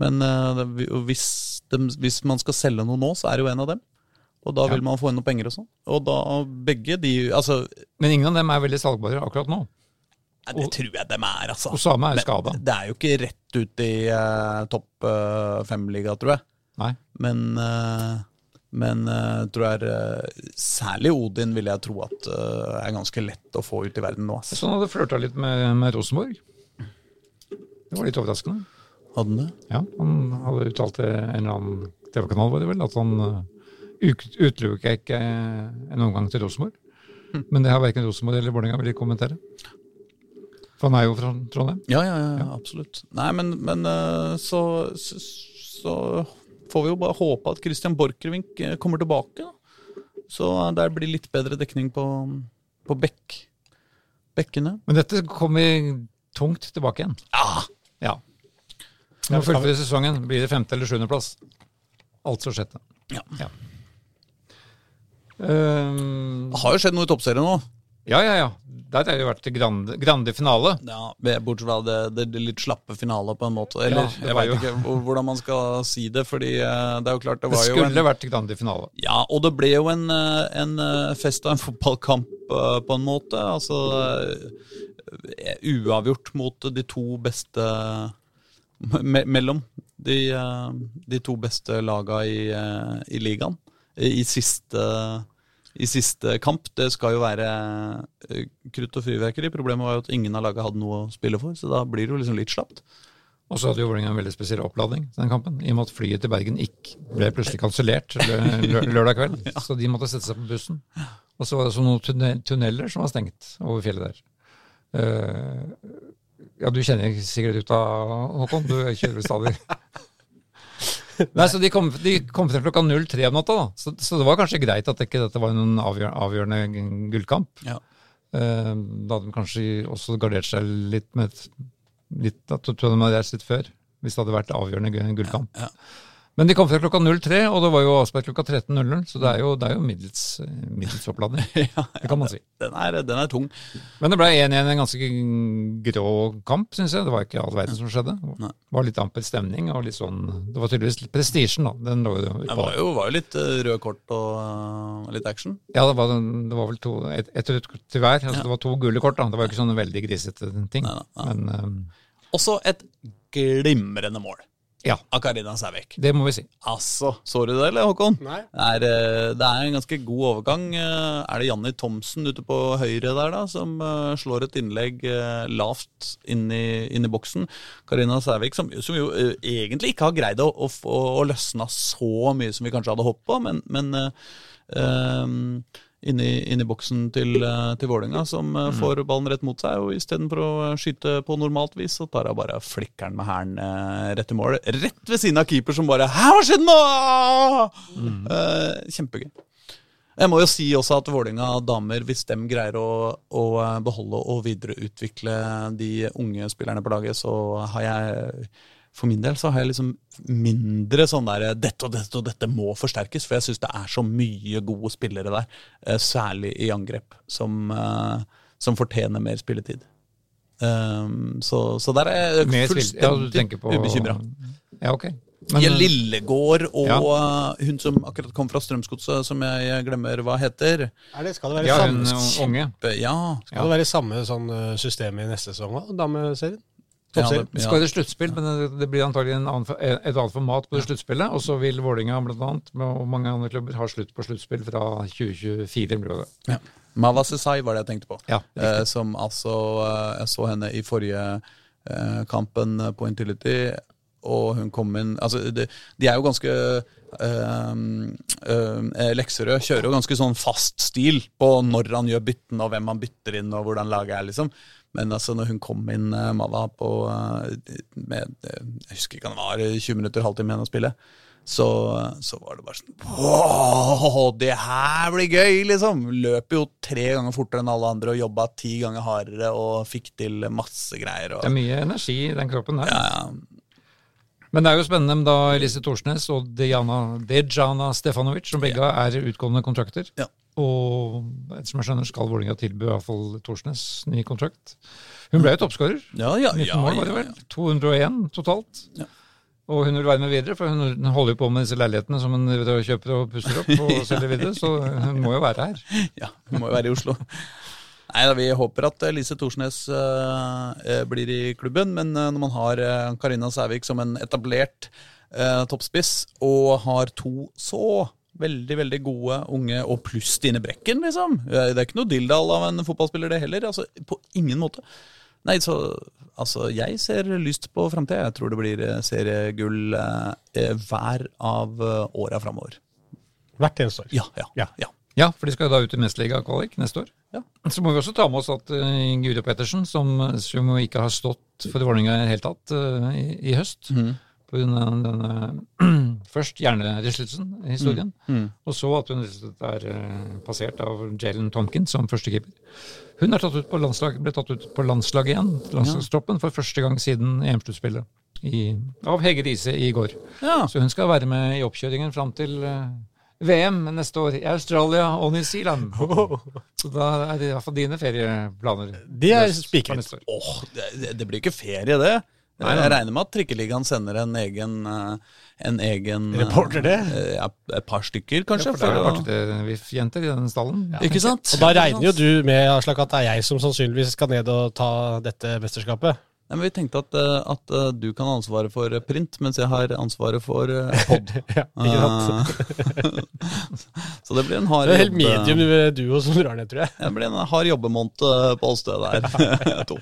Speaker 3: Men eh, det- vi- og hvis, dem- hvis man skal selge noe nå, så er det jo en av dem. Og da
Speaker 2: Ja.
Speaker 3: vil man få inn noen penger og sånn. Og da begge de Altså,
Speaker 2: Men ingen av dem er veldig salgbare akkurat nå.
Speaker 3: nei, det tror jeg dem er, altså.
Speaker 2: Osama er
Speaker 3: Men
Speaker 2: skada.
Speaker 3: Det er jo ikke rett ut i eh, topp uh, fem-liga, tror jeg.
Speaker 2: Nei.
Speaker 3: Men, eh, men eh, tror jeg eh, særlig Odin vil jeg tro at eh, er ganske lett å få ut i verden nå. altså. ass.
Speaker 2: Så han hadde flørta litt med, med Rosenborg. Det var litt overraskende.
Speaker 3: Hadde han det?
Speaker 2: Ja, han hadde uttalt til en eller annen TV-kanal var det vel, at han eh, ut- utelukket ikke eh, en omgang til Rosenborg.
Speaker 3: Hm.
Speaker 2: Men det har verken Rosenborg eller Vålerenga villet kommentere. For han er jo fra Trondheim.
Speaker 3: Ja, ja, ja, absolutt. Nei, men, men eh, så, så, så får vi jo bare håpe at Christian Borchgrevink eh, kommer tilbake. Da. Så eh, der blir litt bedre dekning på, på bekk. bekkene.
Speaker 2: Men dette kommer tungt tilbake igjen.
Speaker 3: Ah,
Speaker 2: Ja. Når vi fullfører sesongen, blir det femte- eller sjuendeplass. Altså sjette.
Speaker 3: Ja.
Speaker 2: Ehm,
Speaker 3: det har jo skjedd noe i toppserien nå.
Speaker 2: ja, ja, ja. Der har det jo vært grande, grande finale.
Speaker 3: Ja, Bortsett fra det, det, det litt slappe finale, på en måte. Eller
Speaker 2: det
Speaker 3: jeg
Speaker 2: var
Speaker 3: veit
Speaker 2: jo-
Speaker 3: ikke hvor- hvordan man skal si det, fordi eh, det er jo klart det
Speaker 2: Det
Speaker 3: var jo en
Speaker 2: skulle vært grande finale.
Speaker 3: Ja, og det ble jo en, eh, en eh, fest og en fotballkamp eh, på en måte. Altså eh, uavgjort mot de to beste me Mellom de, eh, de to beste laga i, eh, i ligaen i i siste, i siste kamp. Det skal jo være eh, krutt og fyrverkeri. Problemet var jo at ingen av laga hadde noe å spille for, så da blir det jo liksom litt slapt.
Speaker 2: Og så hadde jo Vålerenga en veldig spesiell oppladning til den kampen, i og med at flyet til Bergen ikke ble plutselig kansellert lø- lø- lørdag kveld. Så de måtte sette seg på bussen. Og så var det også noen tunne- tunneler som var stengt over fjellet der. Eh, ja, du kjenner sikkert ut av Håkon, du kjører stadig. Nei, så de kom, de kom frem klokka 03 om natta, da. Så, så det var kanskje greit at ikke dette var en avgjør, avgjørende gullkamp.
Speaker 3: Ja.
Speaker 2: Eh, Da hadde de kanskje også gardert seg litt med et- litt, at de hadde gardert seg litt før, hvis det hadde vært avgjørende gu- gullkamp.
Speaker 3: Ja, ja.
Speaker 2: Men de kom fra klokka 03, og det var jo avspark klokka 13.00, så det er jo, det er jo middels, middels oppladning. Det kan man si.
Speaker 3: Den er, den er tung.
Speaker 2: Men det ble 1-1 en ganske grå kamp, syns jeg. Det var ikke all verden som skjedde.
Speaker 3: Nei.
Speaker 2: Det var litt amper stemning, og litt sånn Det var tydeligvis litt prestisjen, da. Den lå jo
Speaker 3: Det
Speaker 2: utpå.
Speaker 3: var jo, var jo litt eh, røde kort og eh, litt action.
Speaker 2: Ja, det var, det var vel to, et, et rødt kort til hver. Altså, Det var to gule kort, da. Det var jo ikke sånne veldig grisete ting.
Speaker 3: Nei, nei,
Speaker 2: Men eh,
Speaker 3: Også et glimrende mål
Speaker 2: Ja.
Speaker 3: av Karina Sævik.
Speaker 2: Det må vi si.
Speaker 3: Altså, så du det, eller Håkon?
Speaker 1: Nei.
Speaker 3: Det er, eh, det er en ganske god overgang. Eh, Er det Janni Thomsen ute på høyre der, da, som eh, slår et innlegg eh, lavt inn i, inn i boksen? Karina Sævik, som, som jo eh, egentlig ikke har greid å, å, få- å løsne så mye som vi kanskje hadde håpet på, men, men eh, eh, Inni, inni boksen til, eh, til Vålerenga, som eh, får ballen rett mot seg. Og istedenfor å skyte på normalt vis, så tar hun bare flikker den med hælen eh, rett i mål. Rett ved siden av keeper, som bare 'Hæ, hva skjedde nå?!' Eh, kjempegøy. Jeg må jo si også at Vålinga damer, hvis de greier å, å eh, beholde og videreutvikle de unge spillerne på laget, så har jeg for min del så har jeg liksom mindre sånn der 'dette og dette og dette må forsterkes', for jeg syns det er så mye gode spillere der, eh, særlig i angrep, som, eh, som fortjener mer spilletid. Um, så, så der er jeg
Speaker 2: Mer spill- ja, du
Speaker 3: fullstendig
Speaker 2: tenker på-
Speaker 3: ubekymra.
Speaker 2: Ja, ok.
Speaker 3: Ja,
Speaker 2: Men,
Speaker 3: Lillegård og eh, hun som akkurat kom fra Strømsgodset, som jeg glemmer hva heter.
Speaker 1: Er det, skal det være
Speaker 2: eh, ja, hun
Speaker 1: samme,
Speaker 2: unge.
Speaker 3: Eh, Ja,
Speaker 1: skal det være samme sånn eh, system i neste sesong òg, dameserien?
Speaker 3: ja,
Speaker 1: Toppserien?
Speaker 2: Det
Speaker 3: det-
Speaker 2: skal
Speaker 3: ja.
Speaker 2: være sluttspill, men det, det blir antagelig en annen, eh, et annet format på det sluttspillet. Og så vil Vålinga blant annet, og mange andre klubber, ha slutt på sluttspill fra 2024. blir det.
Speaker 3: Ja. Mawa Sesai var det jeg tenkte på.
Speaker 2: Ja,
Speaker 3: eh, som altså eh, Jeg så henne i forrige eh, kampen på Intility, og hun kom inn Altså, de, de er jo ganske eh, eh, Lekserød kjører jo ganske sånn fast stil på når han gjør byttene, og hvem han bytter inn, og hvordan laget er, liksom. Men altså, når hun kom inn, eh, Mawa, på eh, med, eh, Jeg husker ikke hva det var, 20 minutter, halvtime igjen å spille. Så, så var det bare sånn Wow, det her blir gøy, liksom! Løp jo tre ganger fortere enn alle andre og jobba ti ganger hardere og fikk til masse greier.
Speaker 2: Det er
Speaker 3: Og,
Speaker 2: mye energi i den kroppen her.
Speaker 3: ja,
Speaker 2: Men det er jo spennende med da Elise Thorsnes og Dejana, Dejana Stefanovic, som begge er utgående kontrakter.
Speaker 3: Ja.
Speaker 2: Og som jeg skjønner, skal Vålinga tilby i hvert fall Thorsnes ny kontrakt. Hun ble jo toppskårer.
Speaker 3: ja, ja,
Speaker 2: 19
Speaker 3: ja,
Speaker 2: mål, var det
Speaker 3: ja,
Speaker 2: vel?
Speaker 3: ja.
Speaker 2: 201 totalt.
Speaker 3: Ja.
Speaker 2: Og hun vil være med videre, for hun holder jo på med disse leilighetene som hun driver og kjøper og pusser opp og selger videre, så hun må jo være her.
Speaker 3: ja, hun må jo være i Oslo. Nei, da, Vi håper at Lise Thorsnes eh, eh, blir i klubben, men eh, når man har eh, Karina Sævik som en etablert eh, toppspiss, og har to så veldig veldig gode unge, og pluss Stine Brekken, liksom eh, Det er ikke noe dilldall av en fotballspiller, det heller. altså På ingen måte. Nei, så altså, jeg ser lyst på framtida. Jeg tror det blir eh, seriegull eh, hver av eh, åra framover.
Speaker 1: Hvert eneste år.
Speaker 3: Ja, ja,
Speaker 1: Ja.
Speaker 3: ja.
Speaker 2: Ja, for de skal jo da ut i mesterligakvalik neste år.
Speaker 3: Ja.
Speaker 2: Så må vi også ta med oss at eh, Guri Pettersen, som, som jo ikke har stått for Vålerenga i det hele tatt eh, i, i høst
Speaker 3: Mhm.
Speaker 2: på grunn av denne først hjernerystelsen i historien,
Speaker 3: Mm.
Speaker 2: og så at hun rett og slett er eh, passert av Jalen Tomkins som førstekeeper. Hun er tatt ut på landslag, ble tatt ut på landslaget igjen, landslagstroppen, for første gang siden EM-sluttspillet i- av Hege Riise i går.
Speaker 3: ja.
Speaker 2: Så hun skal være med i oppkjøringen fram til eh, VM neste år i Australia og New Zealand. Så da er det iallfall dine ferieplaner.
Speaker 1: De er
Speaker 2: løst for
Speaker 1: spikret.
Speaker 2: neste år.
Speaker 3: Åh, det, det blir ikke ferie, det.
Speaker 2: Nei, nei.
Speaker 3: Jeg regner med at Trikkeligaen sender en egen, eh, en egen eh,
Speaker 1: Reporter, det?
Speaker 3: eh, Ja, et par stykker,
Speaker 2: Ja,
Speaker 3: kanskje.
Speaker 2: for det er
Speaker 3: for
Speaker 2: jo
Speaker 3: å-
Speaker 2: artig-jenter i den stallen.
Speaker 3: Ikke sant?
Speaker 1: Og da regner jo du med Aslak, at det er jeg som sannsynligvis skal ned og ta dette mesterskapet.
Speaker 3: Nei, men Vi tenkte at, eh, at eh, du kan ha ansvaret for eh, print, mens jeg har ansvaret for eh, pod.
Speaker 1: Ja, ikke sant?
Speaker 3: Eh, Så det blir en hard
Speaker 1: Det er helt
Speaker 3: jobb, eh,
Speaker 1: medium duo som drar ned, tror jeg.
Speaker 3: Det blir en hard jobbemåned eh, på Ålstø der. to.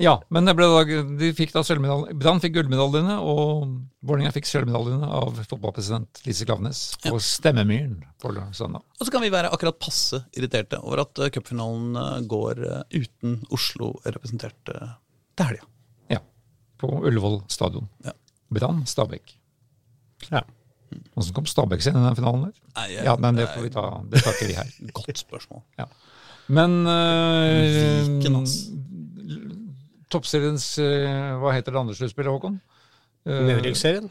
Speaker 2: Ja, men det ble da, de fikk da sølvmedalje. Brann fikk gullmedaljene, og Vålerenga fikk sølvmedaljene av fotballpresident Lise Klaveness på Stemmemyren på lø- søndag.
Speaker 3: Og så kan vi være akkurat passe irriterte over at eh, cupfinalen eh, går eh, uten Oslo representert eh, til helga.
Speaker 2: Ja, på Ullevål stadion.
Speaker 3: Ja.
Speaker 2: Brann Stabæk.
Speaker 1: Ja.
Speaker 2: Åssen kom Stabæk seg inn i den finalen der?
Speaker 3: Nei, jeg-
Speaker 2: Ja, men det får vi ta. Det tar ikke vi her.
Speaker 3: Godt spørsmål.
Speaker 2: Men øh,
Speaker 3: Viken, ass.
Speaker 2: Toppseriens øh, Hva heter det andre sluttspillet, Håkon? Uh,
Speaker 1: Eh, Nedrykksserien?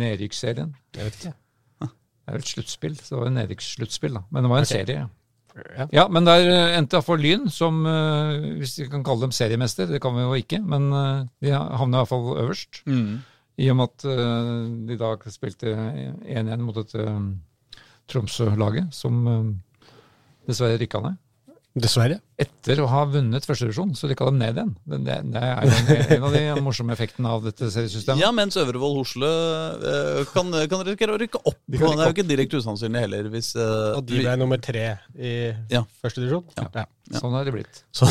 Speaker 2: Nedrykksserien.
Speaker 1: Jeg vet ikke.
Speaker 2: Det er jo et sluttspill, så det var jo nedrykkssluttspill, da. Men det var en serie.
Speaker 1: Ja.
Speaker 2: Ja. ja, men der øh, endte iallfall Lyn som, øh, hvis vi kan kalle dem seriemester, det kan vi jo ikke, men øh, de havna iallfall øverst.
Speaker 3: Mm.
Speaker 2: I og med at øh, de da spilte 1-1 mot dette øh, Tromsø-laget, som øh, dessverre rykka ned.
Speaker 1: Dessverre.
Speaker 2: etter å ha vunnet førsterevisjon, så rykka de ned igjen. Det, det, det er jo en, en av de morsomme effektene av dette seriesystemet.
Speaker 3: Ja, mens Øvrevoll Hosle eh, kan, kan risikere å rykke opp.
Speaker 2: De
Speaker 3: Det
Speaker 2: kan rykke
Speaker 3: er jo ikke direkte usannsynlig heller. Hvis, eh,
Speaker 1: Og de ble nummer tre i
Speaker 3: Ja.
Speaker 1: første divisjon. Ja.
Speaker 2: Sånn er det blitt.
Speaker 1: Så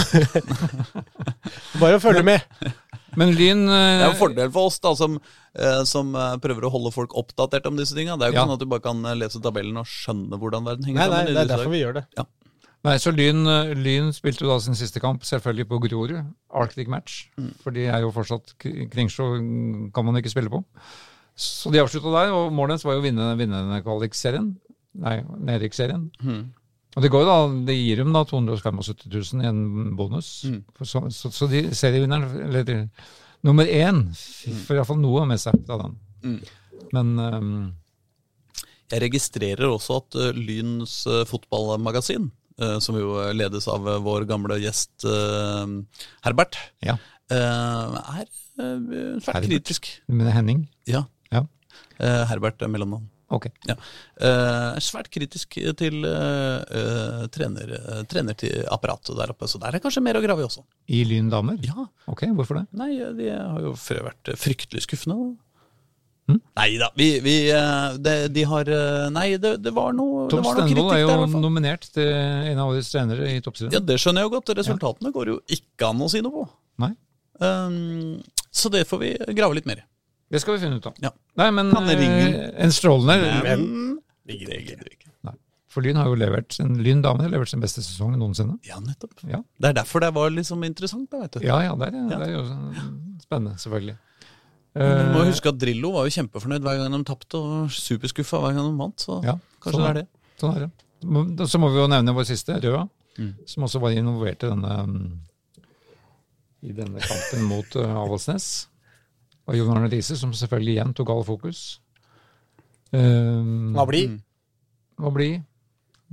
Speaker 1: Bare å følge med.
Speaker 2: Men Lyn
Speaker 3: det er jo en
Speaker 2: eh,
Speaker 3: fordel for oss da, som, eh, som eh, prøver å holde folk oppdatert om disse tinga. Det er jo ikke
Speaker 2: Ja.
Speaker 3: sånn at du bare kan eh, lese tabellen og skjønne hvordan verden henger
Speaker 1: Nei, nei,
Speaker 3: sammen. i
Speaker 1: det er
Speaker 3: disse
Speaker 1: derfor vi gjør det.
Speaker 2: Nei, så Lyn, eh, Lyn spilte jo da sin siste kamp, selvfølgelig på Grorud. Arctic match.
Speaker 3: Mm.
Speaker 2: For de er jo fortsatt k- Kringsjå kan man ikke spille på. Så de avslutta der, og målet deres var jo å vinne, vinne denne kvalikserien. Nei, nedrykksserien.
Speaker 3: Mhm.
Speaker 2: Og det går jo da, det gir dem da 275 000 i en bonus.
Speaker 3: Mm.
Speaker 2: For Så, så, så de serievinneren, eller de- nummer én,
Speaker 3: Mm.
Speaker 2: får iallfall noe med seg ut av den. Men ehm,
Speaker 3: Jeg registrerer også at eh, Lyns eh, fotballmagasin, eh, som jo eh, ledes av eh, vår gamle gjest eh, Herbert,
Speaker 2: ja.
Speaker 3: eh, er eh, svært
Speaker 2: Herbert?
Speaker 3: kritisk.
Speaker 2: Men Henning?
Speaker 3: Ja.
Speaker 2: Ja.
Speaker 3: Eh, Herbert er mellomnavn.
Speaker 2: Ok.
Speaker 3: Ja. Eh, er svært kritisk til eh, eh, trener, eh, trener til apparatet der oppe, så der er kanskje mer å grave i også.
Speaker 2: I Lyn damer?
Speaker 3: Ja,
Speaker 2: Ok, hvorfor det?
Speaker 3: Nei, eh, de har jo før vært eh, fryktelig skuffende. da.
Speaker 2: Hm?
Speaker 3: Nei da, vi, vi eh, de, de har eh, Nei, det, det var noe, det
Speaker 2: Tom
Speaker 3: var noe kritikk
Speaker 2: Stenvold er
Speaker 3: der. i
Speaker 2: jo
Speaker 3: hvert fall.
Speaker 2: nominert til en av årets trenere i toppserien.
Speaker 3: Ja, Det skjønner jeg jo godt. Resultatene går jo ikke an å si noe på.
Speaker 2: Nei.
Speaker 3: Um, så det får vi grave litt mer i.
Speaker 2: Det skal vi finne ut av.
Speaker 3: Ja.
Speaker 2: Nei, men
Speaker 3: Kan det
Speaker 2: eh,
Speaker 3: ringe?
Speaker 2: en strålende
Speaker 1: Men-
Speaker 3: det gidder vi ikke.
Speaker 2: For Lyn har jo levert sin, Lyn damene har levert sin beste sesong noensinne.
Speaker 3: Ja, nettopp.
Speaker 2: Ja.
Speaker 3: Det er derfor det var liksom interessant, da, vet du.
Speaker 2: Ja ja, det er,
Speaker 3: Ja.
Speaker 2: det er jo sånn spennende, selvfølgelig.
Speaker 3: Men Du må
Speaker 2: Eh,
Speaker 3: huske at Drillo var jo kjempefornøyd hver gang de tapte, og superskuffa hver gang de vant. Så
Speaker 2: ja,
Speaker 3: kanskje
Speaker 2: sånn
Speaker 3: det
Speaker 2: er-
Speaker 3: er det.
Speaker 2: Sånn er det. Må- da- Så må vi jo nevne vår siste, Røa,
Speaker 3: Mm.
Speaker 2: som også var involvert i denne mm, i denne kampen mot eh, Avaldsnes. Og Jon Arne Riise, som selvfølgelig igjen tok all fokus. Um,
Speaker 1: Hva blir?
Speaker 3: Mm.
Speaker 2: å bli.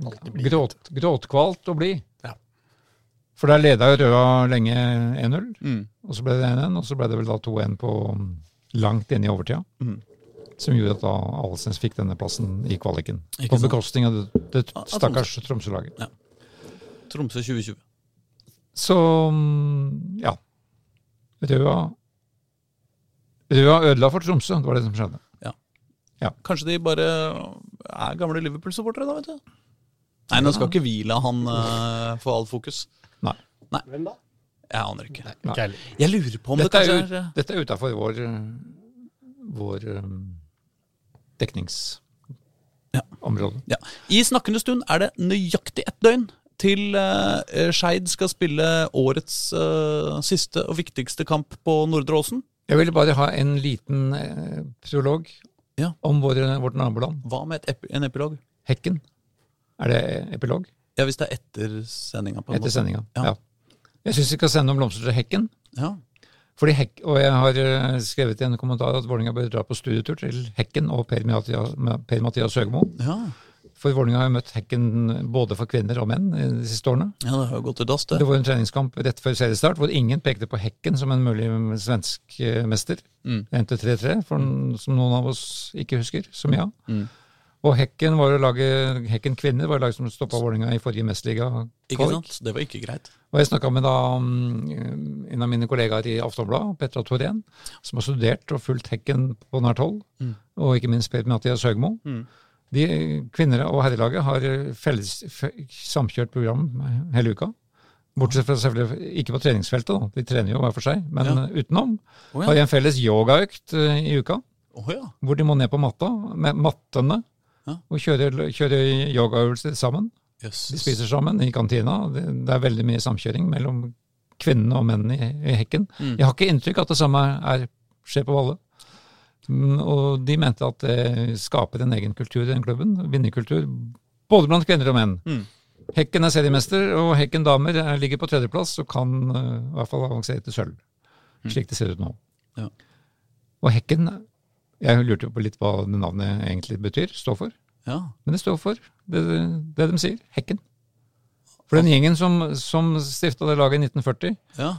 Speaker 1: Alltid bli,
Speaker 2: Gråt, gråtkvalt å bli.
Speaker 1: Ja.
Speaker 2: For der leda jo Røa lenge 1-0,
Speaker 3: Mm.
Speaker 2: og så ble det 1-1, og så ble det vel da 2-1 på um, langt inn i overtida.
Speaker 3: Mhm.
Speaker 2: Som gjorde at da Avaldsnes fikk denne plassen i kvaliken.
Speaker 3: Ikke
Speaker 2: på
Speaker 3: sant?
Speaker 2: bekostning av det, det
Speaker 3: Av- av
Speaker 2: stakkars Tromsø-laget.
Speaker 3: Tromsø 2020.
Speaker 2: Så mm, ja. Røa Røa ødela for Tromsø, det var det som skjedde.
Speaker 3: Kanskje de bare er gamle Liverpool-supportere, da, vet du. Nei, nå skal ikke vi la han eh, få all fokus.
Speaker 1: Hvem da?
Speaker 3: Jeg aner ikke.
Speaker 2: Nei.
Speaker 1: Ikke heller.
Speaker 3: Jeg lurer på om
Speaker 2: Dette er,
Speaker 3: det kanskje
Speaker 2: ut,
Speaker 3: er,
Speaker 2: dette er utafor vår, eh, vår um, dekningsområde.
Speaker 3: Ja. ja. I snakkende stund er det nøyaktig ett døgn til eh, Skeid skal spille årets eh, siste og viktigste kamp på Nordre Åsen.
Speaker 2: Jeg ville bare ha en liten eh, prolog
Speaker 3: Ja.
Speaker 2: om våre, vårt naboland,
Speaker 3: Hva med et ep en epilog?
Speaker 2: Hekken. Er det epilog?
Speaker 3: Ja, hvis det er etter sendinga. på en
Speaker 2: Etter
Speaker 3: måte.
Speaker 2: sendinga.
Speaker 3: Ja.
Speaker 2: Ja. Jeg syns vi skal sende om blomster til Hekken.
Speaker 3: Ja.
Speaker 2: Fordi hekk, og jeg har eh, skrevet i en kommentar at Vålinga bør dra på studietur til Hekken og Per-Mathias Høgmo.
Speaker 3: Ja.
Speaker 2: For Vålinga har jo møtt Hekken både for kvinner og menn eh, de siste årene.
Speaker 3: ja, det har jo gått til dass, det.
Speaker 2: Det var en treningskamp rett før seriestart hvor ingen pekte på Hekken som en mulig svensk eh, mester.
Speaker 3: Mm.
Speaker 2: Det endte 3-3, for n- som noen av oss ikke husker, som jeg.
Speaker 3: Mm.
Speaker 2: Og Hekken, var jo laget, Hekken kvinner var jo laget som stoppa Vålinga i forrige mesterliga.
Speaker 3: Ikke
Speaker 2: kvalik.
Speaker 3: sant? Det var ikke greit.
Speaker 2: Og jeg snakka med da, mm, en av mine kollegaer i Aftonbladet, Petra Torén, som har studert og fulgt Hekken på nært hold,
Speaker 3: Mm.
Speaker 2: og ikke minst Per Mathias Høgmo.
Speaker 3: Mm.
Speaker 2: De kvinner- og herrelaget har felles, f- samkjørt program hele uka. Bortsett fra selvfølgelig ikke på treningsfeltet, da. de trener jo hver for seg, men
Speaker 3: Ja.
Speaker 2: eh, utenom.
Speaker 3: Å
Speaker 2: Har de
Speaker 3: ja.
Speaker 2: en felles yogaøkt eh, i uka,
Speaker 3: Å ja.
Speaker 2: hvor de må ned på matta, med mattene,
Speaker 3: Ja.
Speaker 2: og kjøre, kjøre yogaøvelser sammen. De
Speaker 3: Jøss.
Speaker 2: spiser sammen i kantina. Det, det er veldig mye samkjøring mellom kvinnene og mennene i, i hekken.
Speaker 3: Mm.
Speaker 2: Jeg har ikke inntrykk at det samme er, skjer på Valle. Mm, Og de mente at det skaper en egen kultur i den klubben. Vinnerkultur både blant kvinner og menn.
Speaker 3: Mm.
Speaker 2: Hekken er seriemester, og Hekken damer er- ligger på tredjeplass og kan eh, i hvert fall avansere til sølv. Slik det ser ut nå.
Speaker 3: Mm. Ja.
Speaker 2: Og Hekken Jeg lurte jo på litt hva det navnet egentlig betyr, står for.
Speaker 3: Ja.
Speaker 2: Men det står for det, det de sier, hekken. For den gjengen som, som stifta det laget i 1940,
Speaker 3: ja.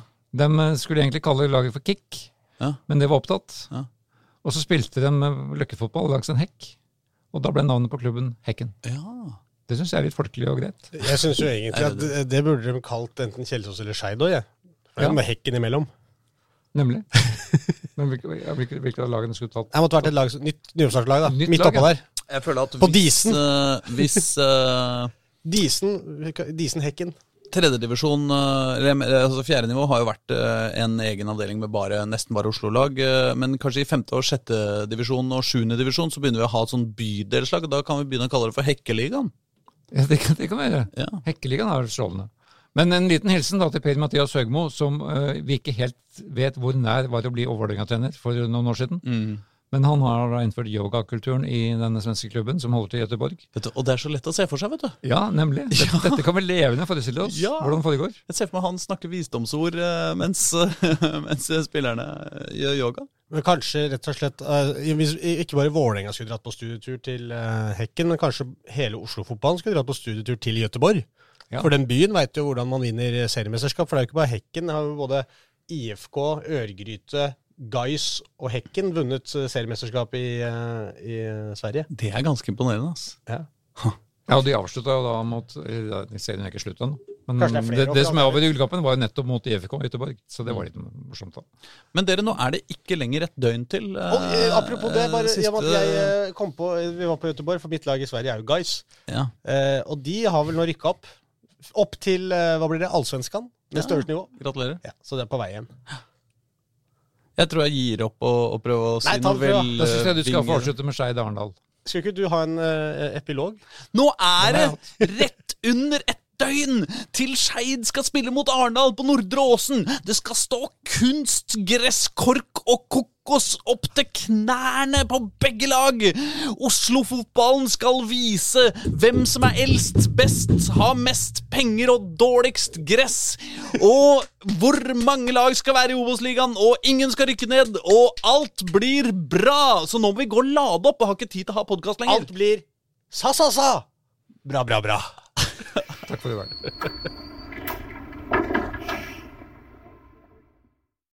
Speaker 2: de skulle egentlig kalle laget for Kick,
Speaker 3: Ja.
Speaker 2: men det var opptatt.
Speaker 3: Ja.
Speaker 2: Og så spilte de med løkkefotball langs en hekk, og da ble navnet på klubben Hekken.
Speaker 3: ja.
Speaker 2: Det syns jeg er litt folkelig og greit.
Speaker 1: Jeg syns jo egentlig
Speaker 3: Er
Speaker 1: at
Speaker 3: det
Speaker 1: det, det burde de kalt enten Kjelsås eller Skeid òg, jeg. For det
Speaker 2: Ja.
Speaker 1: er Med hekken imellom.
Speaker 2: Nemlig. men hvilke, ja, hvilke, hvilke av lagene skulle tatt
Speaker 1: Jeg måtte vært et lag, som- nytt nyoppstartslag, da.
Speaker 2: Nytt
Speaker 1: Midt
Speaker 2: lag,
Speaker 1: oppå
Speaker 2: ja.
Speaker 1: der.
Speaker 3: Jeg føler at
Speaker 1: På
Speaker 3: hvis,
Speaker 1: disen.
Speaker 3: eh, hvis eh,
Speaker 1: Disen, Disen-hekken.
Speaker 3: Tredjedivisjon, eh, rem- eh, altså fjerde nivå, har jo vært eh, en egen avdeling med bare, nesten bare Oslo-lag. eh, Men kanskje i femte og sjette divisjon og sjuende divisjon så begynner vi å ha et sånn bydelslag. og Da kan vi begynne å kalle det for Hekkeligaen.
Speaker 2: ja, det, kan- det kan være.
Speaker 3: Ja.
Speaker 2: Hekkeligaen er strålende. Men en liten hilsen da til Per Mathias Høgmo, som eh, vi ikke helt vet hvor nær var å bli Vålerenga-trener for noen år siden.
Speaker 3: Mm.
Speaker 2: Men han har da innført yogakulturen i denne svenske klubben som holder til i Göteborg.
Speaker 3: Vet du, og det er så lett å se for seg, vet du.
Speaker 2: Ja, nemlig. Dette, dette kan vi levende forestille oss
Speaker 3: Ja.
Speaker 2: hvordan det foregår.
Speaker 3: Jeg ser for meg han snakker visdomsord eh, mens, mens spillerne eh, gjør yoga.
Speaker 1: Men kanskje rett og slett eh, hvis, Ikke bare Vålerenga skulle dratt på studietur til eh, Hekken, men kanskje hele Oslo-fotballen skulle dratt på studietur til Gøteborg.
Speaker 2: Ja.
Speaker 1: For den byen veit jo hvordan man vinner eh, seriemesterskap. For det er jo ikke bare Hekken. Det har jo både IFK, Ørgryte, Gais og Hekken vunnet eh, seriemesterskap i, eh, i eh, Sverige.
Speaker 3: Det er ganske imponerende, ass.
Speaker 1: Ja.
Speaker 2: Ja, og de avslutta jo da mot eller, ja, Serien er ikke slutt ennå. Men
Speaker 1: Kanskje det er flere
Speaker 2: det, det
Speaker 1: opp-
Speaker 2: som er over i Gullkampen, var jo nettopp mot IFK i Göteborg. Så det var litt morsomt, da.
Speaker 3: Men dere, nå er det ikke lenger et døgn til. eh,
Speaker 1: Og, eh, apropos det, bare, i og med at jeg
Speaker 3: siste-
Speaker 1: eh, kom på, vi var på Gøteborg, for mitt lag i Sverige er jo Gais.
Speaker 3: ja.
Speaker 1: Eh, og de har vel nå rykka opp. Opp til eh, hva blir det, Allsvenskan? Med
Speaker 3: Ja.
Speaker 1: størst nivå.
Speaker 3: Gratulerer.
Speaker 1: Ja, så det er på vei hjem.
Speaker 3: Jeg tror jeg gir opp og, og prøver å si
Speaker 1: Nei, ta
Speaker 3: noe
Speaker 1: den fra.
Speaker 2: Da syns jeg du skal få
Speaker 3: velvillig.
Speaker 2: avslutte med Skeid Arendal.
Speaker 1: Skulle ikke du ha en eh, epilog?
Speaker 3: Nå er det rett under et døgn til Skeid skal spille mot Arendal på Nordre Åsen. Det skal stå kunst, gresskork og kokos opp til knærne på begge lag. Oslo-fotballen skal vise hvem som er eldst, best, har mest penger og dårligst gress. Og hvor mange lag skal være i Obos-ligaen, og ingen skal rykke ned. Og alt blir bra. Så nå må vi gå og lade opp. Jeg har ikke tid til å ha podkast lenger.
Speaker 1: Alt blir sa-sa-sa! Bra, bra, bra.
Speaker 2: Takk for i dag.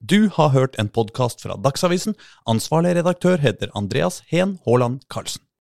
Speaker 3: Du har hørt en podkast fra Dagsavisen. Ansvarlig redaktør heter Andreas Heen Haaland Karlsen.